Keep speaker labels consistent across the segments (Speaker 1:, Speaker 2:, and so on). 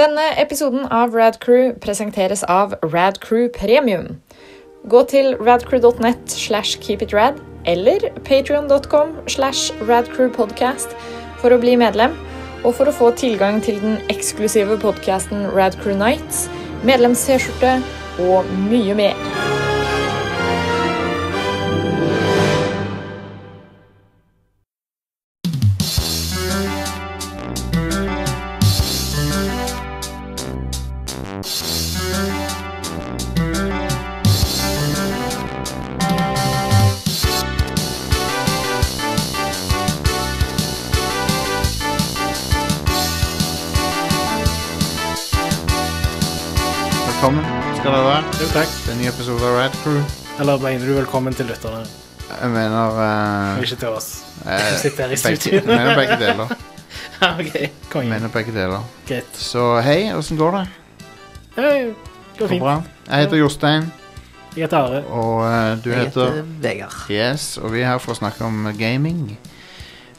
Speaker 1: Denne episoden av Rad Crew presenteres av Rad Crew Premium. Gå til radcrew.net slash keepitrad eller patreon.com slash radcrewpodcast for å bli medlem, og for å få tilgang til den eksklusive podcasten Rad Crew Nights, medlems-T-skjorte og mye mer.
Speaker 2: Velkommen skal dere være
Speaker 3: Jo, takk.
Speaker 2: til en ny episode av Rad Crew.
Speaker 3: Eller mener du velkommen til lytterne?
Speaker 2: Jeg mener
Speaker 3: Og
Speaker 2: eh,
Speaker 3: Ikke til oss.
Speaker 2: eh,
Speaker 3: Du sitter her i
Speaker 2: begge-
Speaker 3: studio.
Speaker 2: Jeg mener begge deler.
Speaker 3: ok,
Speaker 2: Jeg
Speaker 3: kongen.
Speaker 2: mener begge deler.
Speaker 3: Greit.
Speaker 2: Så hei, åssen går det?
Speaker 3: Ja, ja, Går
Speaker 2: Går det
Speaker 3: fint.
Speaker 2: bra? Jeg heter Jostein,
Speaker 3: Jeg heter Are.
Speaker 2: og eh, du
Speaker 4: Jeg
Speaker 2: heter
Speaker 4: heter Vegard.
Speaker 2: Yes, og vi er her for å snakke om gaming.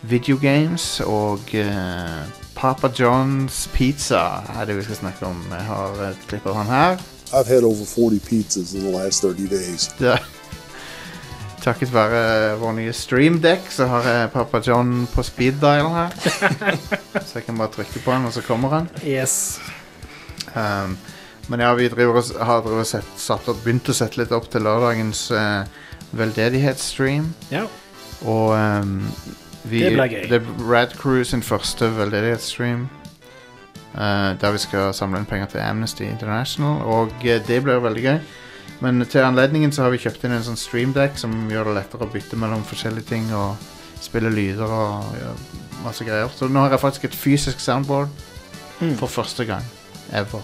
Speaker 2: Videogames og eh, Papa John's pizza er det vi skal snakke om. Jeg har et klipp av han her.
Speaker 5: I've had over 40 pizzas in the last 30 days.
Speaker 2: Det, eh, takket være vår nye streamdekk så har jeg Papa John på speed dial her. så jeg kan bare trykke på han, og så kommer han.
Speaker 3: Yes.
Speaker 2: Um, men ja, vi driver, og s- har driver og sett, satt opp, begynt å sette litt opp til lørdagens eh, veldedighetsstream.
Speaker 3: Ja.
Speaker 2: Og um, vi,
Speaker 3: Det blir gøy.
Speaker 2: Det er Rad Crew sin første veldedighetsstream. eh, der vi skal samle inn penger til Amnesty International, og eh, det blir veldig gøy. Men til anledningen så har vi kjøpt inn en sånn streamdeck som gjør det lettere å bytte mellom forskjellige ting og spille lyder og ja, masse greier. Så nå har jeg faktisk et fysisk soundboard
Speaker 3: Mm.
Speaker 2: for første gang ever.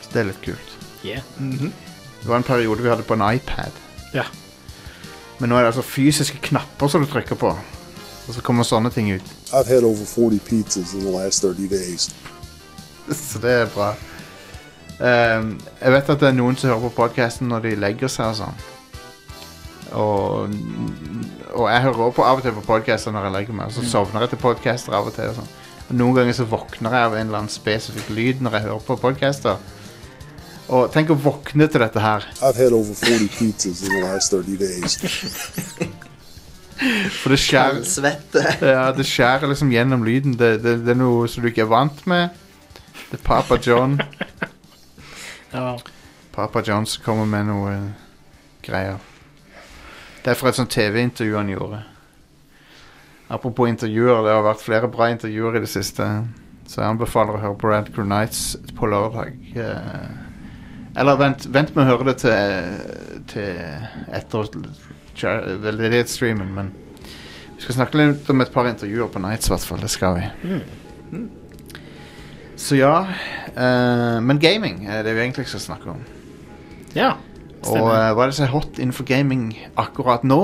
Speaker 2: Så det er litt kult.
Speaker 3: Yeah.
Speaker 2: Det var en periode vi hadde på en iPad.
Speaker 3: Mm-hmm. Ja.
Speaker 2: Men nå er det altså fysiske knapper som du trykker på. Og så kommer sånne ting ut.
Speaker 5: I've had over 40 pizzas in the last 30 days.
Speaker 2: Så det er bra. Ehm, jeg vet at det er noen som hører på podkasten når de legger seg og sånn. Og, og jeg hører også på av og til på podkaster når jeg legger meg, og så sovner jeg til podcaster av og til. Og sånn. Og noen ganger så våkner jeg av en eller annen spesifikk lyd når jeg hører på podcaster. Og tenk å våkne til dette her.
Speaker 5: I've had over 40 pizzas in the last 30 days.
Speaker 2: For det skjer
Speaker 4: Svette.
Speaker 2: Ja, det skjærer liksom gjennom lyden. Det, det, det er noe som du ikke er vant med. Det er Papa John.
Speaker 3: Ja.
Speaker 2: Papa John som kommer med noe greier. Det er fra et sånt TV-intervju han gjorde. Apropos intervjuer, det har vært flere bra intervjuer i det siste. Så jeg anbefaler å høre på Rad Crew Nights på lørdag. Eh, Eller vent, vent med å høre det til, til etter cha- veldedighetsstreamen, men vi skal snakke litt om et par intervjuer på Nights, i hvert fall. Det skal vi. Så ja. eh, men gaming er det vi egentlig skal snakke om.
Speaker 3: ja.
Speaker 2: Og
Speaker 3: Stemmer.
Speaker 2: eh, hva er det som er hot innenfor gaming akkurat nå?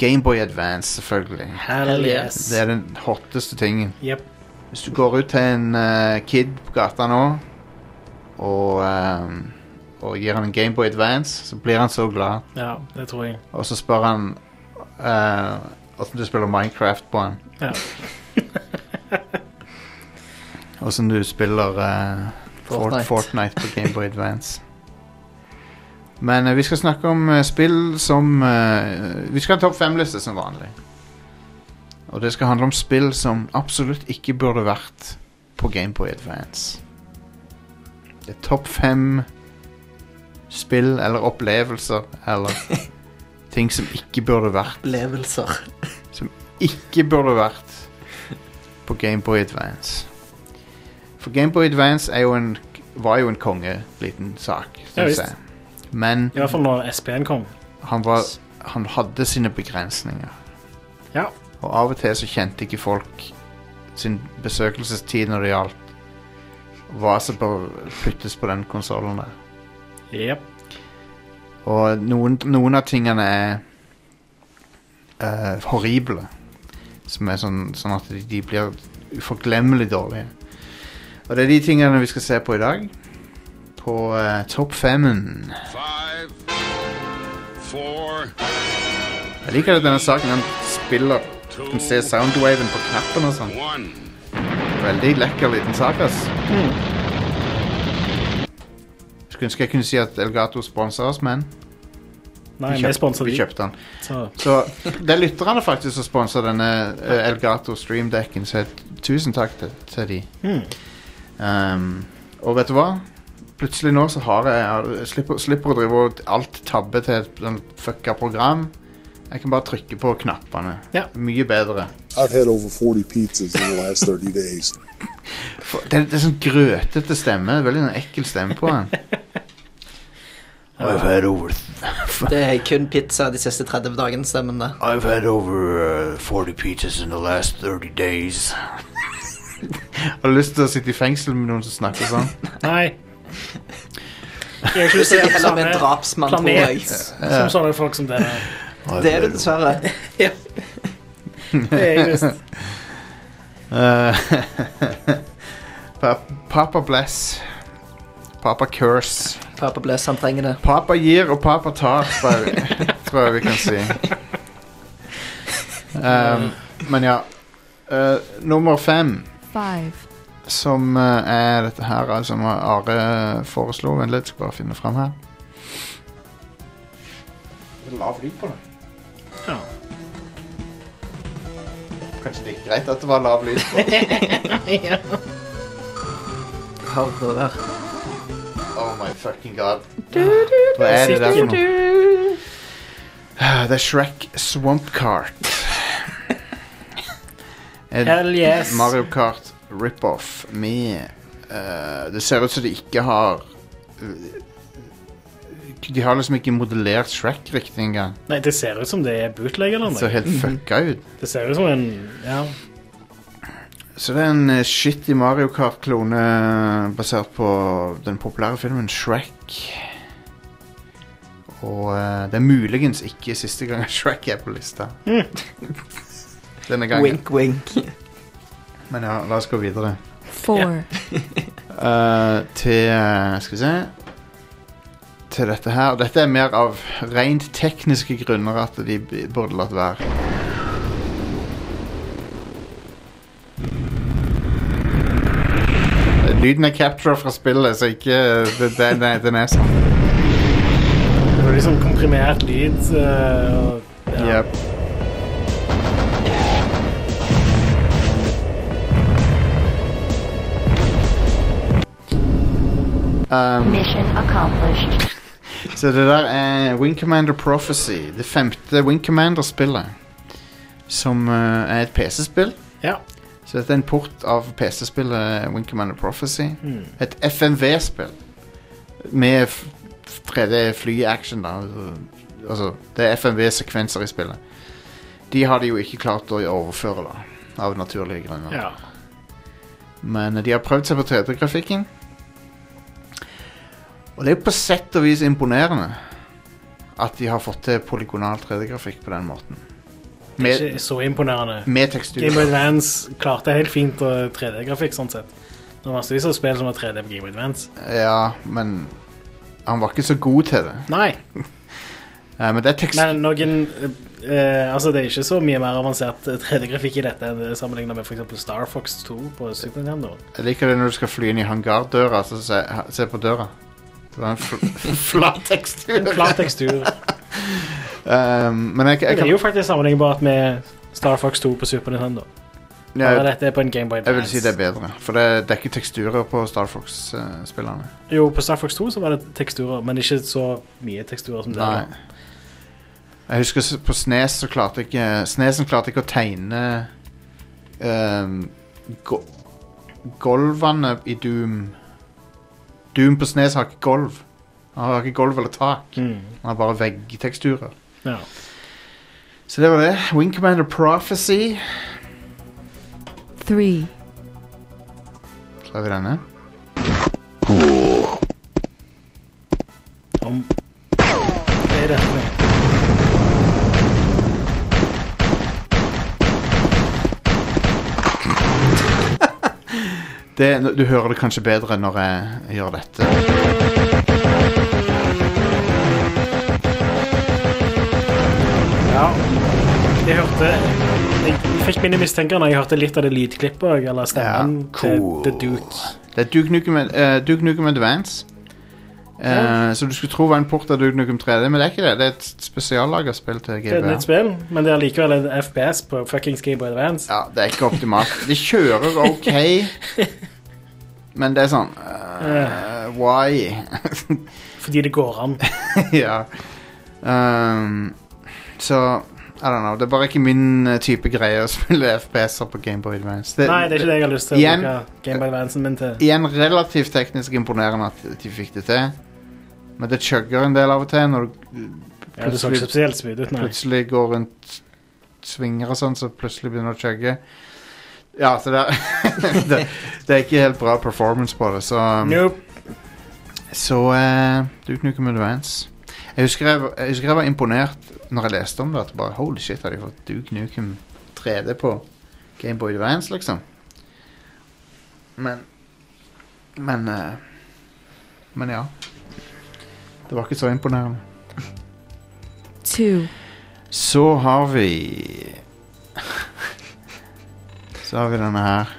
Speaker 2: Gameboy Advance, selvfølgelig.
Speaker 3: Hell yes.
Speaker 2: Det er den hotteste tingen.
Speaker 3: Jep.
Speaker 2: Hvis du går ut til en eh, kid på gata nå og, eh, og gir han en Gameboy Advance, så blir han så glad.
Speaker 3: Ja, det tror jeg.
Speaker 2: Og så spør han uh, åssen du spiller Minecraft på han.
Speaker 3: Ja.
Speaker 2: Åssen du spiller eh, Fortnite.
Speaker 4: Fortnite.
Speaker 2: Fortnite på Gameboy Advance. Men eh, vi skal snakke om eh, spill som eh, Vi skal ha en topp fem-liste som vanlig. Og det skal handle om spill som absolutt ikke burde vært på Gameboy Advance. Det er topp fem spill eller opplevelser eller ting som ikke burde vært
Speaker 4: Opplevelser.
Speaker 2: ikke burde vært på Gameboy Advance. For Gameboy Advance er jo en, var jo en kongeliten sak,
Speaker 3: Ja,
Speaker 2: synes
Speaker 3: visst.
Speaker 2: jeg. Men
Speaker 3: I hvert fall når SPN kom.
Speaker 2: han, var, han hadde sine begrensninger.
Speaker 3: Ja.
Speaker 2: Og av og til så kjente ikke folk sin besøkelsestid når det gjaldt hva som bør puttes på den konsollen der.
Speaker 3: Jep.
Speaker 2: Og noen, noen av tingene er eh, horrible. Som er sånn, sånn at de, de blir uforglemmelig dårlige. Og det er de tingene vi skal se på i dag. På eh, topp femmen.
Speaker 6: Five, four,
Speaker 2: Jeg liker at denne saken han spiller. Du kan se soundwaven på knappen og sånn.
Speaker 6: one.
Speaker 2: Det veldig lekker liten sak, ass. Skulle ønske jeg kunne si at Elgato sponser oss, men
Speaker 3: Nei, vi sponser
Speaker 2: vi
Speaker 3: de.
Speaker 2: kjøpte den.
Speaker 3: Så
Speaker 2: Så det er lytterne faktisk som sponser denne eh, Elgato streamdekken, så jeg- tusen takk til, til de.
Speaker 3: Hmm.
Speaker 2: Um, og vet du hva? Plutselig nå så har jeg, jeg har- slipper, slipper å drive og alt tabbe til et sånn fucka program. Jeg kan bare trykke på knappene.
Speaker 3: Ja.
Speaker 2: Mye bedre.
Speaker 5: I've had over 40 pizzas in the last 30 days.
Speaker 2: For- Det, er- det er sånn grøtete stemme. Veldig sånn ekkel stemme på den. I've had over,
Speaker 4: Det er kun pizza de siste 30 dagene, stemmen det.
Speaker 2: I've had over 40 pizzas in the last 30 days. har du lyst til å sitte i fengsel med noen som snakker sånn?
Speaker 3: Nei. Jeg er
Speaker 4: Du
Speaker 3: ikke
Speaker 4: sitter
Speaker 3: på
Speaker 4: heller med en
Speaker 3: samme
Speaker 4: drapsmann, tror jeg.
Speaker 3: planet som sånne folk som dere.
Speaker 4: Det er du dessverre. Ja.
Speaker 3: Det er jeg visst.
Speaker 2: Eh, Pa- Papa bless. Papa curse.
Speaker 4: Pappa Bless, han trenger det.
Speaker 2: Papa gir og papa tar, tror jeg, tror jeg vi kan si. Um, men ja. Eh, nummer fem,
Speaker 7: five,
Speaker 2: som eh, er dette her, eh, som Are foreslo Vent litt, skal bare finne fram her. Lav lyd på det.
Speaker 3: Ja.
Speaker 2: Kanskje det er greit at det var lav lyd på det.
Speaker 4: Horror.
Speaker 2: Oh my fucking god. Hva er det der for noe? Ah, Det er Shrek Swamp Cart. Et
Speaker 3: Hell yes.
Speaker 2: Mario Kart rip-off med eh, Det ser ut som de ikke har eh, De har liksom ikke modellert Shrek riktig engang.
Speaker 3: Nei, det ser ut som Sånn det er bootleg eller
Speaker 2: Det ser
Speaker 3: noe.
Speaker 2: helt fucka ut.
Speaker 3: Det ser ut som en Ja.
Speaker 2: Så det er en eh, shitty Mario Kart-klone eh, basert på den populære filmen Shrek. Og eh, det er muligens ikke siste gang Shrek er på lista. Denne gangen.
Speaker 4: Wink, wink.
Speaker 2: Men ja, la oss gå videre.
Speaker 7: four,
Speaker 2: Eh, til eh, Skal vi se Til dette her. Dette er mer av rent tekniske grunner at de b- burde latt være. Lyden er capture fra spillet, så ikke det- det- Nei, den er sånn.
Speaker 3: Det var liksom komprimert lyd. eh, og- ja.
Speaker 2: Yep. Um,
Speaker 8: Mission accomplished.
Speaker 2: Så det der er Wing Commander Prophecy. Det femte Wing Commander-spillet. Som eh, er et PC-spill.
Speaker 3: Ja.
Speaker 2: Så dette er en port av PC-spillet Wing Commander Prophecy.
Speaker 3: Mm.
Speaker 2: Et FMV-spill. Med f- 3D-fly-action, da. Altså, Altså, det er FMV-sekvenser i spillet. De har de jo ikke klart å overføre, da. Av naturlige grunner.
Speaker 3: ja.
Speaker 2: Men eh, de har prøvd seg på 3D-grafikken. Og det er jo på sett og vis imponerende at de har fått til polygonal 3D-grafikk på den måten. Med,
Speaker 3: Ikke så imponerende.
Speaker 2: med tekstur.
Speaker 3: Game Boy Advance klarte helt fint å 3D-grafikk, sånn sett. Det var massevis av spill som var 3D på Game Boy Advance.
Speaker 2: Ja, men han var ikke så god til det.
Speaker 3: Nei,
Speaker 2: Eh, men det er tekstur.
Speaker 3: men noen eh, eh, Altså, det er ikke så mye mer avansert 3D-grafikk i dette enn det sammenlignet med for eksempel Star Fox 2 på Super Nintendo.
Speaker 2: Jeg liker det når du skal fly inn i hangardøra, så se, ha- se på døra. Det var en fl flat tekstur.
Speaker 3: Flat tekstur.
Speaker 2: Eh, men jeg, jeg,
Speaker 3: Det
Speaker 2: kan,
Speaker 3: er jo faktisk sammenlignbart med Star Fox 2 på Super Nintendo. Bare
Speaker 2: jeg,
Speaker 3: dette er på en Game Boy
Speaker 2: jeg
Speaker 3: Advance.
Speaker 2: vil si det er bedre. For det, det er ikke teksturer på Star Fox-spillerne.
Speaker 3: Jo, på Star Fox 2 så var det teksturer, men ikke så mye teksturer som det.
Speaker 2: Nei.
Speaker 3: er.
Speaker 2: Jeg husker s- på Snes så klarte ikke Snesen klarte ikke å tegne ehm, go golvene i Doom. Doom på Snes har ikke golv. Han har ikke golv eller tak.
Speaker 3: Mm.
Speaker 2: Han har bare veggteksturer.
Speaker 3: Ja.
Speaker 2: Så det var det. Wing Commander Prophecy.
Speaker 7: three,
Speaker 2: Klarer vi denne?
Speaker 3: Om Hva er dette med?
Speaker 2: Det, du hører det kanskje bedre når jeg gjør dette.
Speaker 3: Ja. Jeg hørte Jeg jeg fikk mine mistenker når jeg hørte litt av det lydklippet også, eller stemmen
Speaker 2: Ja, cool.
Speaker 3: til, til Duke.
Speaker 2: Det er Duke Nukem, eh, Duke Nukem Advance. Eh, Som du skulle tro var en port av Duke Nukem 3D, men det er ikke det. Det er et spesiallaga spill til
Speaker 3: Det er et nytt
Speaker 2: GBA.
Speaker 3: spill, men det er likevel en FPS på fuckings Game Boy Advance.
Speaker 2: Ja, det er ikke optimalt. De kjører ok, men det er sånn eh, Why?
Speaker 3: Fordi det går an.
Speaker 2: ja. Ehm, så I don't know. Det er bare ikke min eh, type greie å spille FPS-er på Gameboy Advance.
Speaker 3: Nei, det er ikke det jeg har lyst til å
Speaker 2: Igjen-
Speaker 3: bruke Game Boy Advancen min til.
Speaker 2: Igjen relativt teknisk imponerende at de fikk det til. Men det chugger en del av og til når du
Speaker 3: Ja, det
Speaker 2: plutselig-
Speaker 3: så ikke spesielt smooth ut, nei.
Speaker 2: plutselig går rundt svinger og sånn, så plutselig begynner det å chugge. Ja, så det er, det, det er ikke helt bra performance på det, så um,
Speaker 3: Nope.
Speaker 2: Så eh, Duke Nukem Advance. Jeg husker jeg, var- jeg husker jeg var imponert når jeg leste om det. At bare, Holy shit, har de fått Duke Nukem 3D på Gameboy Advance, liksom? Men Men eh, Men ja. Det var ikke så imponerende.
Speaker 7: two,
Speaker 2: Så har vi Så har vi denne her.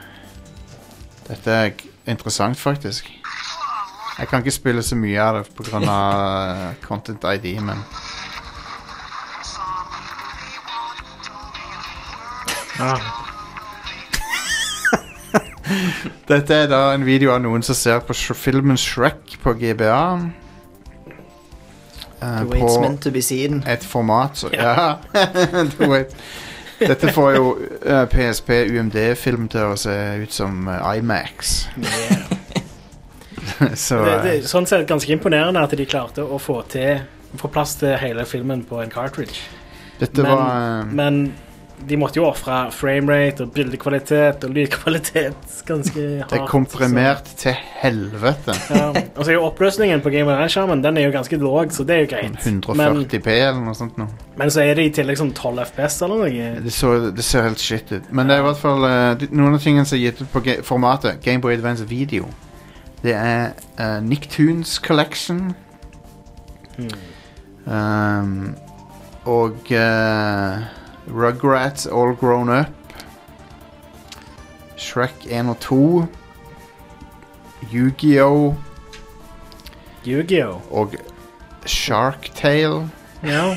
Speaker 2: Dette er g- interessant, faktisk. Jeg kan ikke spille så mye av det pga. Content ID, men
Speaker 3: Ja.
Speaker 2: Dette er da en video av noen som ser på Sh- filmen Shrek på GBA. Eh,
Speaker 4: The way it's meant to be seen.
Speaker 2: et format så, ja. Du vet. Dette får jo eh, PSP UMD-film til å se ut som eh, IMAX. så
Speaker 3: Det, det,
Speaker 2: eh,
Speaker 3: er sånn sett ganske imponerende at de klarte å få til Få plass til hele filmen på en cartridge.
Speaker 2: dette
Speaker 3: men-
Speaker 2: var eh,
Speaker 3: Men de måtte jo ofre framerate og bildekvalitet og lydkvalitet ganske hardt.
Speaker 2: Det er komprimert til helvete.
Speaker 3: så- Ja. Og så er jo oppløsningen på Game of Thrones-skjermen Den er jo ganske låg, så det er jo greit.
Speaker 2: 140 Sånn P eller noe sånt. Nå.
Speaker 3: Men så er det i tillegg sånn 12 FPS eller noe.
Speaker 2: Det, så, det ser helt shit ut. Men det er i hvert fall eh, de- noen av tingene som er gitt ut på ga- formatet Gameboy Advance Video. Det er eh, Nicktoons Collection. Um, og eh, Rugrats All Grown Up. Shrek 1 og 2. Yu-Gi-Oh!
Speaker 3: Yu-Gi-Oh!
Speaker 2: og Shark Tale.
Speaker 3: Ja.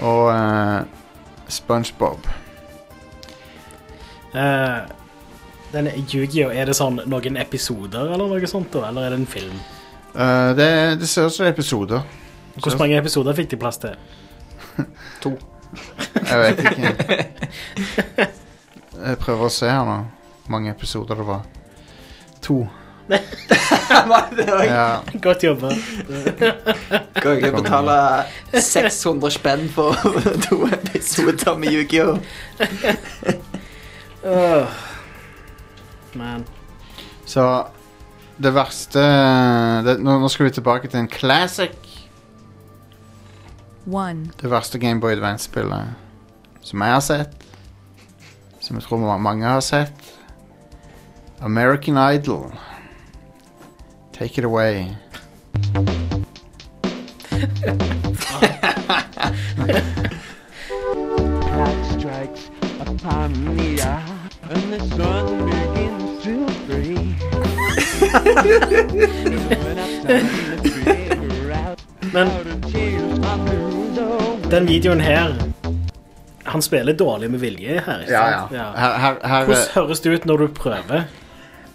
Speaker 2: og eh, SpongeBob.
Speaker 3: Eh, den Yu-Gi-Oh! Er det sånn noen episoder eller noe sånt, da? Eller er det en film?
Speaker 2: Eh, det, det ser ut som episoder.
Speaker 3: Hvor mange episoder fikk de plass til?
Speaker 2: Jeg vet ikke. Jeg prøver å se her nå. Hvor mange episoder det var. To.
Speaker 4: det var
Speaker 2: Ja,
Speaker 3: Godt jobba.
Speaker 4: Kan jeg betale 600 spenn for to episoder med Yu-Gi-Oh!
Speaker 3: Åh. Men
Speaker 2: så det verste det, nå, nå skal vi tilbake til en classic.
Speaker 7: one,
Speaker 2: Det verste Gameboy Advance-spillet som jeg har sett. Som jeg tror ma- mange har sett. American Idol. Take it away.
Speaker 8: clock strikes upon the hour, and the sun begins to break. when I start to figure out
Speaker 3: Men
Speaker 8: how to change my mood, oh,
Speaker 3: den videoen her Han spiller dårlig med vilje her, ikke sant?
Speaker 2: Her, her, her
Speaker 3: Hvordan høres det ut når du prøver?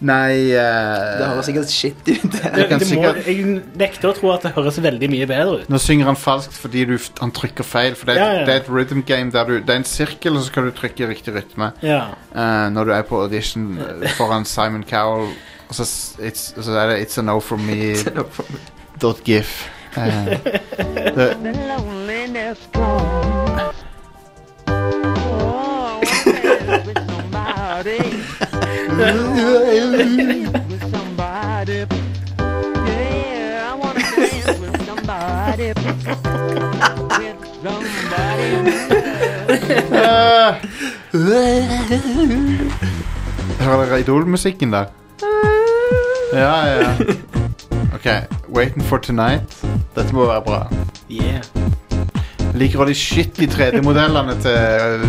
Speaker 2: Nei
Speaker 4: Det
Speaker 2: eh,
Speaker 4: høres sikkert shit ut.
Speaker 3: Det,
Speaker 2: kan
Speaker 3: det må,
Speaker 2: sikkert-
Speaker 3: jeg nekter å tro at det høres veldig mye bedre ut.
Speaker 2: Nå synger han falskt fordi du, f- han trykker feil. For det er,
Speaker 3: Ja, ja.
Speaker 2: det er et rhythm game der du Det er en sirkel, og så skal du trykke i riktig rytme
Speaker 3: Ja.
Speaker 2: eh, når du er på audition eh, foran Simon Cowell. Og så, s- it's, og så er det It's a no from me.gif. Eh.
Speaker 8: the loneliness gone. Oh, I'm there with somebody. with somebody. Yeah, I wanna dance with somebody. with somebody.
Speaker 2: Hører dere Idol-musikken der? Ja, ja. OK. Waiting for tonight. Dette må være bra.
Speaker 3: Yeah.
Speaker 2: Liker også de shitty 3D-modellene til eh,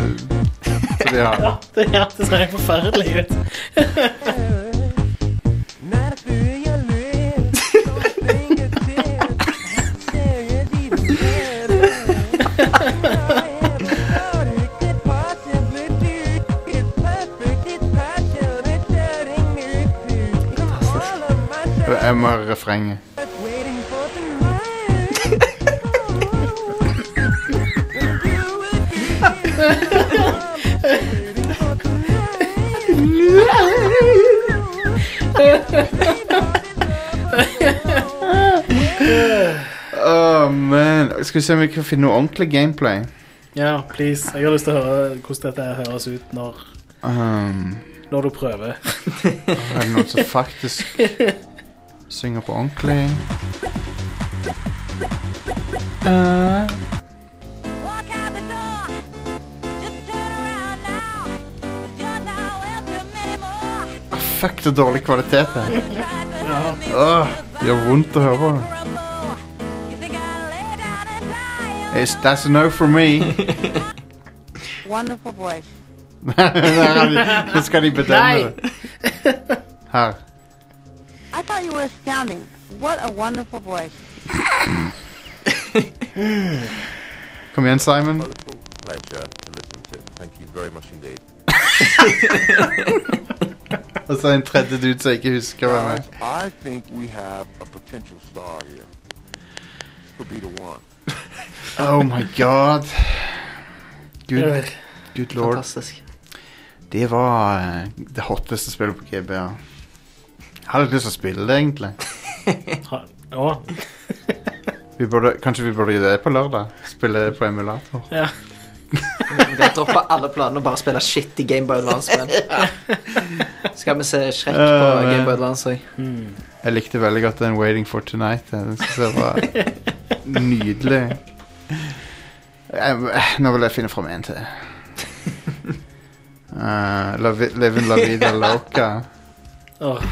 Speaker 2: som de har.
Speaker 3: Det hjertet ser helt forferdelig ut.
Speaker 2: Jeg må høre refrenget. Åh, man. Skal vi se om vi kan finne noe ordentlig gameplay.
Speaker 3: Ja, please. Jeg har lyst til å høre hvordan dette her høres ut når,
Speaker 2: Um,
Speaker 3: når du prøver.
Speaker 2: er det noen som faktisk synger på ordentlig? Ah, Fuck, det er dårlig kvalitet her. Åh, det gjør vondt å høre på. It's, that's a no for me.
Speaker 7: Wonderful voice.
Speaker 2: Nå skal de bedømme det. Her.
Speaker 7: I thought you were astounding. What a wonderful voice.
Speaker 2: Kom igjen, Simon.
Speaker 9: pleasure to listen to. Thank you very much indeed.
Speaker 2: Og så en tredje dude som jeg ikke husker hvem er.
Speaker 9: Uh, I think we have a potential star here. Could be the one.
Speaker 2: Oh my god. Good,
Speaker 3: Jeg
Speaker 2: good lord.
Speaker 4: Fantastisk.
Speaker 2: Det var eh, det hotteste spillet på GBA. Jeg hadde lyst til å spille det, egentlig.
Speaker 3: har- Å,
Speaker 2: Vi burde, kanskje vi burde gjøre det på lørdag? Spille det på emulator.
Speaker 3: ja.
Speaker 4: Jeg dropper alle planene og bare spille shit i Gameboy Advance-spill. Skal vi se Shrek på
Speaker 2: Øh,
Speaker 4: Gameboy Advance òg?
Speaker 2: Jeg likte veldig godt den 'Waiting for Tonight'. Den synes jeg var nydelig. Jeg, eh, nå vil jeg finne fram en til. Uh, la, vi- Livin' la vida loca.
Speaker 3: Åh.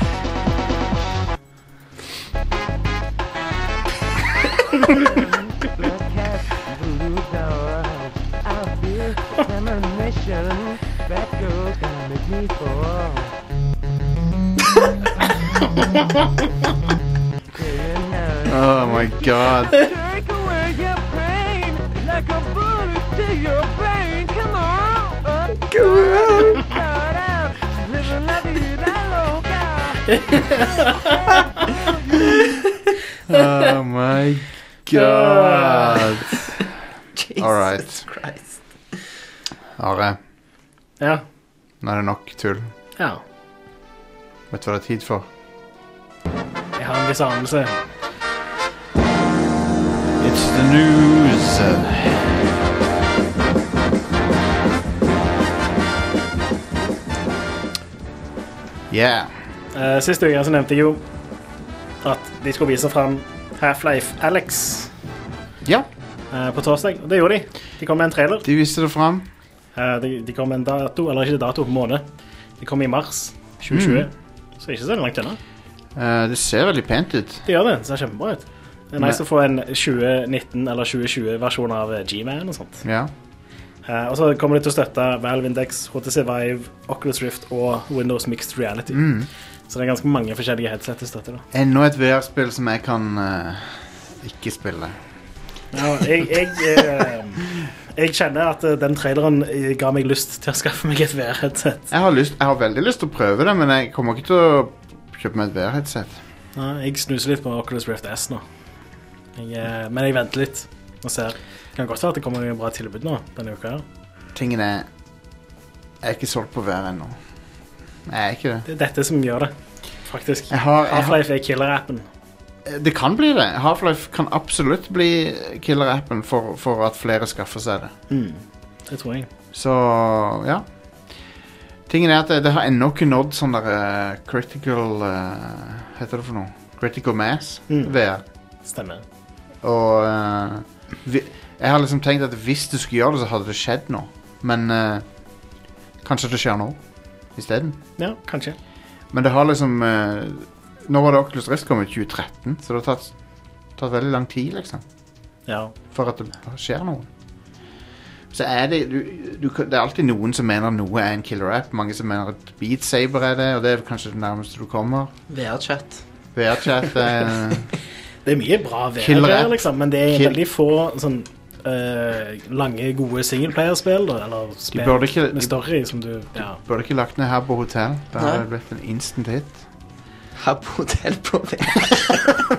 Speaker 2: Oh my god.
Speaker 8: Take away your pain like a bullet to your brain. Come on, up, start out, live a la vida loca.
Speaker 2: Oh my god.
Speaker 4: Jesus
Speaker 2: alright.
Speaker 4: Christ.
Speaker 2: Are,
Speaker 3: Ja.
Speaker 2: nå er det nok tull.
Speaker 3: ja.
Speaker 2: Vet du hva det er tid for?
Speaker 3: Jeg har en viss anelse.
Speaker 2: It's the news. Yeah.
Speaker 3: Eh, Sist uke så nevnte jeg jo at de skulle vise fram Half-Life Alex
Speaker 2: Ja,
Speaker 3: eh, på torsdag, og det gjorde de. De kom med en trailer.
Speaker 2: de viste det fram.
Speaker 3: Eh, de, de kom med en dato, eller ikke dato, måned. De kom i mars 2020, så ikke så langt unna.
Speaker 2: Eh, det ser veldig pent ut.
Speaker 3: De gjør det, det ser kjempebra ut. Det er nice
Speaker 2: Men-
Speaker 3: å få en 2019- eller 2020-versjon av eh, G-Man og sånt.
Speaker 2: Ja.
Speaker 3: Eh, og så kommer de til å støtte Valve Index, HTC Vive, Oculus Rift og Windows Mixed Reality. Så det er ganske mange forskjellige headset de støtter. da.
Speaker 2: Enda et VR-spill som jeg kan eh, ikke spille.
Speaker 3: Ja, jeg, jeg, eh, jeg kjenner at eh, den traileren eh, ga meg lyst til å skaffe meg et VR-headset.
Speaker 2: Jeg har, lyst, jeg har veldig lyst til å prøve det, men jeg kommer ikke til å kjøpe meg et VR-headset.
Speaker 3: Ja, jeg snuser litt på Oculus Rift S nå. Jeg, eh, men jeg venter litt og ser. Det kan godt være at det kommer noen bra tilbud nå denne uka. her.
Speaker 2: Tingen er Jeg er ikke solgt på VR ennå. Jeg er ikke det.
Speaker 3: Det er dette som gjør det, faktisk.
Speaker 2: Jeg har, jeg har,
Speaker 3: Half-Life er killer-appen.
Speaker 2: Eh, det kan bli det. Half-Life kan absolutt bli killer-appen for, for at flere skaffer seg det.
Speaker 3: Det tror jeg.
Speaker 2: Så ja. Tingen er at det, det har ennå ikke nådd sånn der eh, critical eh, Heter det for noe? Critical mass
Speaker 3: Mm.
Speaker 2: VR.
Speaker 3: Stemmer.
Speaker 2: Og eh, vi, jeg har liksom tenkt at hvis du skulle gjøre det, så hadde det skjedd nå. Men eh, kanskje det skjer nå isteden.
Speaker 3: Ja, kanskje.
Speaker 2: Men det har liksom eh, Nå var det Oculus Rift kommet i 2013, så det har tatt, tatt veldig lang tid, liksom.
Speaker 3: Ja.
Speaker 2: For at det skjer noe. så er det du, du, kan- Det er alltid noen som mener noe er en killer app. Mange som mener at Beat Saber er det, og det er kanskje det nærmeste du kommer. eh,
Speaker 4: VR-chat.
Speaker 2: VR-chat er
Speaker 3: Det er mye bra VR,
Speaker 2: Killer
Speaker 3: der,
Speaker 2: app.
Speaker 3: liksom, men det er
Speaker 2: Kill-
Speaker 3: veldig få sånn eh, lange, gode singleplayerspill, da, eller spill
Speaker 2: burde ikke-
Speaker 3: med
Speaker 2: de-
Speaker 3: story som du ja.
Speaker 2: Burde ikke lagt ned her på hotell. Da hadde
Speaker 4: Nei.
Speaker 2: det blitt en instant hit.
Speaker 4: Her på hotell på VR.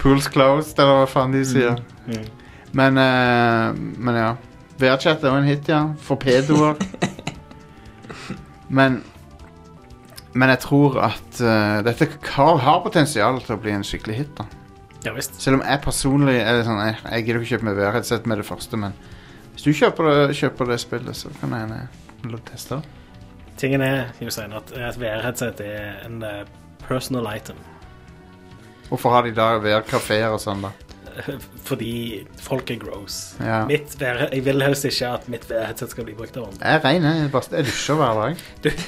Speaker 2: Pools closed, eller hva faen de sier.
Speaker 3: Mm.
Speaker 2: Men, eh, men ja. VR-chat er jo en hit, ja. For pedoer. men Men jeg tror at eh, dette har, har potensial til å bli en skikkelig hit. da
Speaker 3: ja visst.
Speaker 2: Selv om jeg personlig er sånn Jeg, jeg gidder ikke kjøpe meg VR-headset med det første, men hvis du kjøper det, kjøper det spillet, så kan jeg eh, gjerne teste det.
Speaker 3: Tingen er Jostein, at et VR-headset er en eh, personal item.
Speaker 2: Hvorfor har de da VR-kafeer og sånn, da?
Speaker 3: Fordi folk er gross.
Speaker 2: Ja.
Speaker 3: Mitt VR, jeg vil helst ikke at mitt VR-headset skal bli brukt av andre.
Speaker 2: Jeg er rein, jeg. Bare- Jeg dusjer hver dag.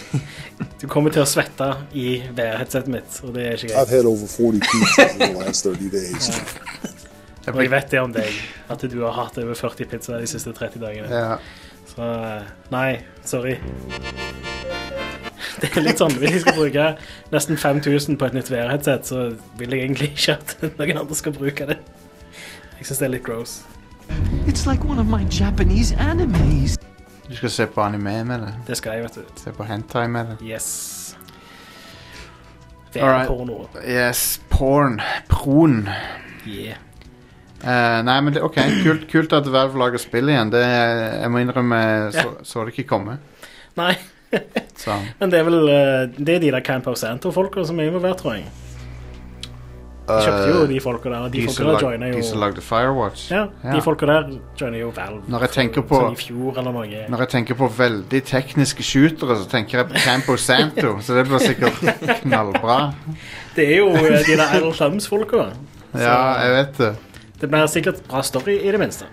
Speaker 3: Du kommer til å svette i VR-headsetet mitt, og det er ikke
Speaker 5: I've
Speaker 3: greit.
Speaker 5: had over 40 pizzas in the last 30 days.
Speaker 2: Jeg
Speaker 3: Og jeg
Speaker 2: blir,
Speaker 3: vet det om deg, at du har hatt over 40 pizzaer de siste 30 dagene.
Speaker 2: ja.
Speaker 3: Så eh, nei, sorry. Det er litt sånn, Hvis jeg skal bruke nesten 5000 på et nytt VR-headset, så vil jeg egentlig ikke at noen andre skal bruke det. Jeg syns det er litt gross.
Speaker 4: It's like one of my Japanese animes.
Speaker 2: Du skal se på anime med det.
Speaker 3: Det skal jeg, vet du.
Speaker 2: Se på hentai med det.
Speaker 3: Yes.
Speaker 2: Alright.
Speaker 3: VR-porno.
Speaker 2: Yes, porn. Pron.
Speaker 3: Yeah.
Speaker 2: Eh, nei, men det, ok, kult, kult at Valve lager spill igjen. Det, jeg må innrømme, så, så det ikke komme.
Speaker 3: Nei,
Speaker 2: Så.
Speaker 3: men det er vel eh, Det er de der Camp Center-folka som er involvert, tror jeg. De kjøpte jo de folka der, og de
Speaker 2: Eh, De som
Speaker 3: folka der
Speaker 2: lag-
Speaker 3: joiner
Speaker 2: de som
Speaker 3: jo
Speaker 2: lagde Firewatch.
Speaker 3: Ja,
Speaker 2: Ja.
Speaker 3: de folka der joiner jo Valve.
Speaker 2: Når jeg tenker på-
Speaker 3: Sånn i fjor eller noe.
Speaker 2: Når jeg tenker på veldig tekniske shootere, så tenker jeg på Campo Santo. så det blir sikkert knallbra.
Speaker 3: Det er jo eh, de der Idle Thumbs-folka.
Speaker 2: Ja, jeg vet det.
Speaker 3: Det blir sikkert bra story, i det minste.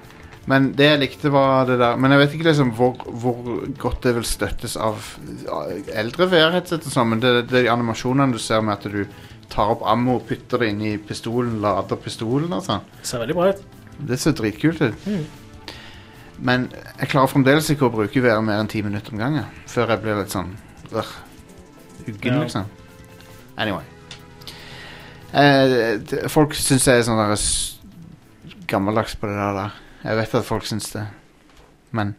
Speaker 2: Men det jeg likte var det der Men jeg vet ikke liksom hvor, hvor godt det vil støttes av eh, eldre VR-headset og sånn, men det, det er de animasjonene du ser med at du tar opp ammo, putter det inn i pistolen, lader pistolen og sånn.
Speaker 3: Ser veldig bra ut.
Speaker 2: Det ser dritkult ut.
Speaker 3: Mm.
Speaker 2: Men jeg klarer fremdeles ikke å bruke VR mer enn ti minutter om gangen. Før jeg blir litt sånn øh, uggen,
Speaker 3: Ja.
Speaker 2: liksom. Anyway. Eh, d- folk syns jeg er sånn der s- gammeldags på det der, der. Jeg vet at folk syns det. Men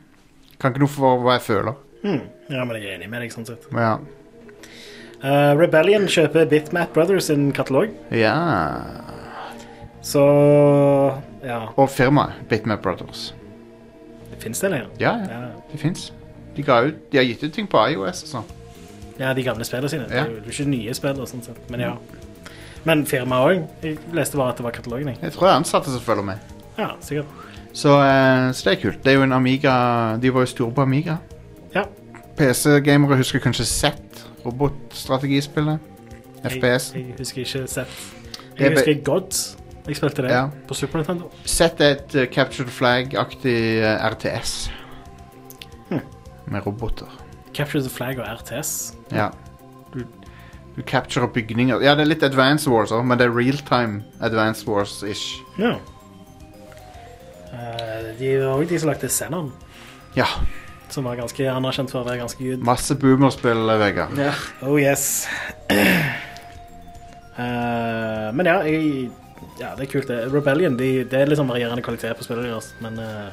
Speaker 2: kan ikke noe for hva jeg føler.
Speaker 3: Hmm. Ja, men jeg er enig med deg, sånn sett.
Speaker 2: Men ja.
Speaker 3: Eh, Rebellion kjøper Bitmap Brothers sin katalog,
Speaker 2: ja.
Speaker 3: så ja.
Speaker 2: Og firmaet Bitmap Brothers.
Speaker 3: Fins det lenger?
Speaker 2: Ja, ja.
Speaker 3: Ja.
Speaker 2: Det fins. De, ga ut, de har gitt ut ting på IOS og sånn.
Speaker 3: ja, de gamle spillene sine. Det
Speaker 2: Ja.
Speaker 3: er jo ikke nye spill, sånn sett. Men ja. Men firmaet òg. Jeg leste bare at det var katalogen. jeg.
Speaker 2: Jeg tror det er ansatte som følger med.
Speaker 3: Ja, sikkert.
Speaker 2: Så, eh, så det er kult. Det er jo en Amiga De var jo store på Amiga.
Speaker 3: Ja.
Speaker 2: PC-gamere husker kanskje Z, robotstrategispillet. FPS.
Speaker 3: Jeg, jeg husker ikke sett.
Speaker 2: Det er
Speaker 3: Jeg
Speaker 2: be-
Speaker 3: husker Gods. Jeg spilte det
Speaker 2: Ja.
Speaker 3: på Super Nintendo.
Speaker 2: Z er et eh, Captured Flag-aktig eh, RTS. Med roboter.
Speaker 3: Capture the Flag og RTS.
Speaker 2: Ja. Du, du capturer bygninger. Ja, det er litt Advance Wars òg, men det er real-time Advance Wars-ish.
Speaker 3: Ja. Eh, de var òg de som lagde Xenon.
Speaker 2: Ja.
Speaker 3: Som var ganske anerkjent for å være ganske good.
Speaker 2: Masse boomerspill, eh, Vegard.
Speaker 4: Ja.
Speaker 3: Oh yes. Eh, men ja, jeg, ja, det er kult. det. Rebellion de, det er liksom varierende kvalitet på spillet deres, men eh,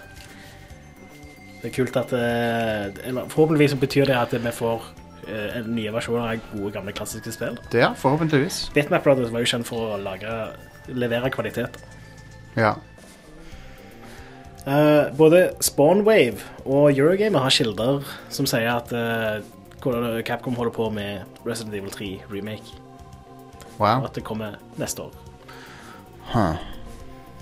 Speaker 3: det er kult at eh, eller, Forhåpentligvis så betyr det at vi får eh, en nye versjoner av gode, gamle, klassiske spill.
Speaker 2: Det, ja. Forhåpentligvis.
Speaker 3: Bitmap Brothers var jo kjent for å lage, levere kvalitet.
Speaker 2: Ja.
Speaker 3: Eh, både Spawnwave og Eurogamer har kilder som sier at eh, hvordan Capcom holder på med Resident Evil 3 remake. Og
Speaker 2: Wow.
Speaker 3: at det kommer neste år.
Speaker 2: Huh.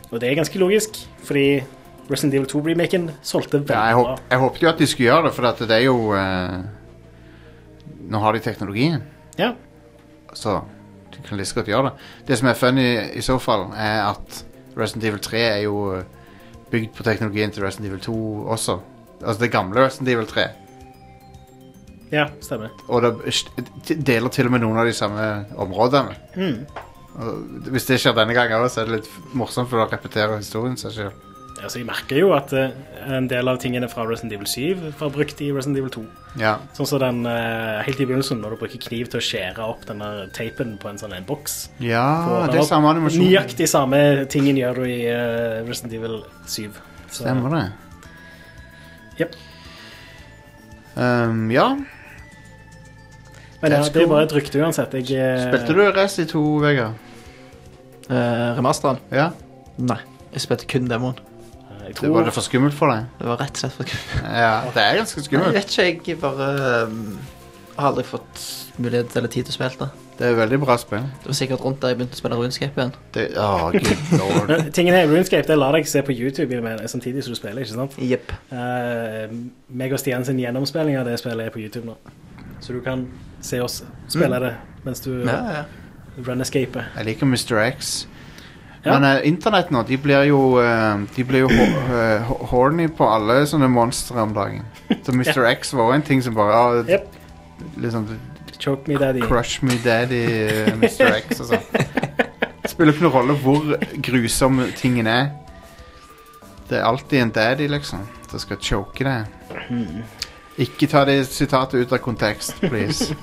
Speaker 3: Og det er ganske logisk, fordi Resident Evil 2-remaken solgte veldig
Speaker 2: Ja, jeg,
Speaker 3: bra.
Speaker 2: håp, jeg håpet jo at de skulle gjøre det, for at det er jo eh, Nå har de teknologien,
Speaker 3: Ja,
Speaker 2: så de kan like så godt gjøre det. Det som er funny i så fall, er at Resident Evil 3 er jo eh, bygd på teknologien til Resident Evil 2 også. Altså det gamle Resident Evil 3.
Speaker 3: ja, stemmer.
Speaker 2: Og det t- deler til og med noen av de samme områdene. Og hvis det skjer denne gangen òg, så er det litt morsomt, for da repeterer historien seg sjøl.
Speaker 3: altså, jeg merker jo at eh, en del av tingene fra Resident Evil 7 var brukt i Resident Evil 2.
Speaker 2: Ja.
Speaker 3: Sånn som den eh, helt i begynnelsen, når du bruker kniv til å skjære opp den der teipen på en sånn en boks.
Speaker 2: ja,
Speaker 3: Og
Speaker 2: Ah, det er samme animasjon.
Speaker 3: Nøyaktig samme tingen gjør du i eh, Resident Evil 7. Så,
Speaker 2: Stemmer det.
Speaker 3: Jep.
Speaker 2: Ehm, ja.
Speaker 3: Men ja,
Speaker 2: That's
Speaker 3: det er
Speaker 2: cool.
Speaker 3: bare et rykte uansett. Jeg, eh,
Speaker 2: Spilte du Resi 2, Vegard?
Speaker 4: Eh, remasteren?
Speaker 2: Ja?
Speaker 4: Nei. Jeg spilte kun demoen.
Speaker 3: eh, Jeg
Speaker 2: Det var
Speaker 3: tror,
Speaker 2: det for skummelt for deg?
Speaker 4: Det var rett og slett for
Speaker 2: Ja, det er ganske
Speaker 4: Jeg
Speaker 2: skummelt.
Speaker 4: vet ikke, jeg bare um, har aldri fått mulighet eller tid til å spille det.
Speaker 2: Det er veldig bra spill.
Speaker 4: Det var sikkert rundt der jeg begynte å spille RuneScape igjen.
Speaker 2: Det, åh, good lord.
Speaker 3: Men tingen her, RuneScape det lar deg se på YouTube i- med- samtidig som du spiller, ikke sant?
Speaker 4: Jepp.
Speaker 3: Eh, meg og Stian sin gjennomspilling av det spillet er på YouTube nå. Så du kan se oss spille det mens du
Speaker 4: Ja, ja.
Speaker 3: runescaper.
Speaker 2: Jeg liker Mr. X.
Speaker 3: Ja.
Speaker 2: Men eh, internett nå, de blir jo, eh, de blir jo ho eh, ho- horny på alle sånne monstre om dagen. Så Mr. X var jo en ting som bare ah,
Speaker 3: Yep.
Speaker 2: Liksom
Speaker 3: Choke me daddy.
Speaker 2: Crush me daddy, eh, Mr. X og sånn. Spiller ikke noen rolle hvor grusom tingen er. Det er alltid en daddy, liksom, som skal choke deg.
Speaker 3: Hmm.
Speaker 2: Ikke ta det sitatet ut av kontekst, please.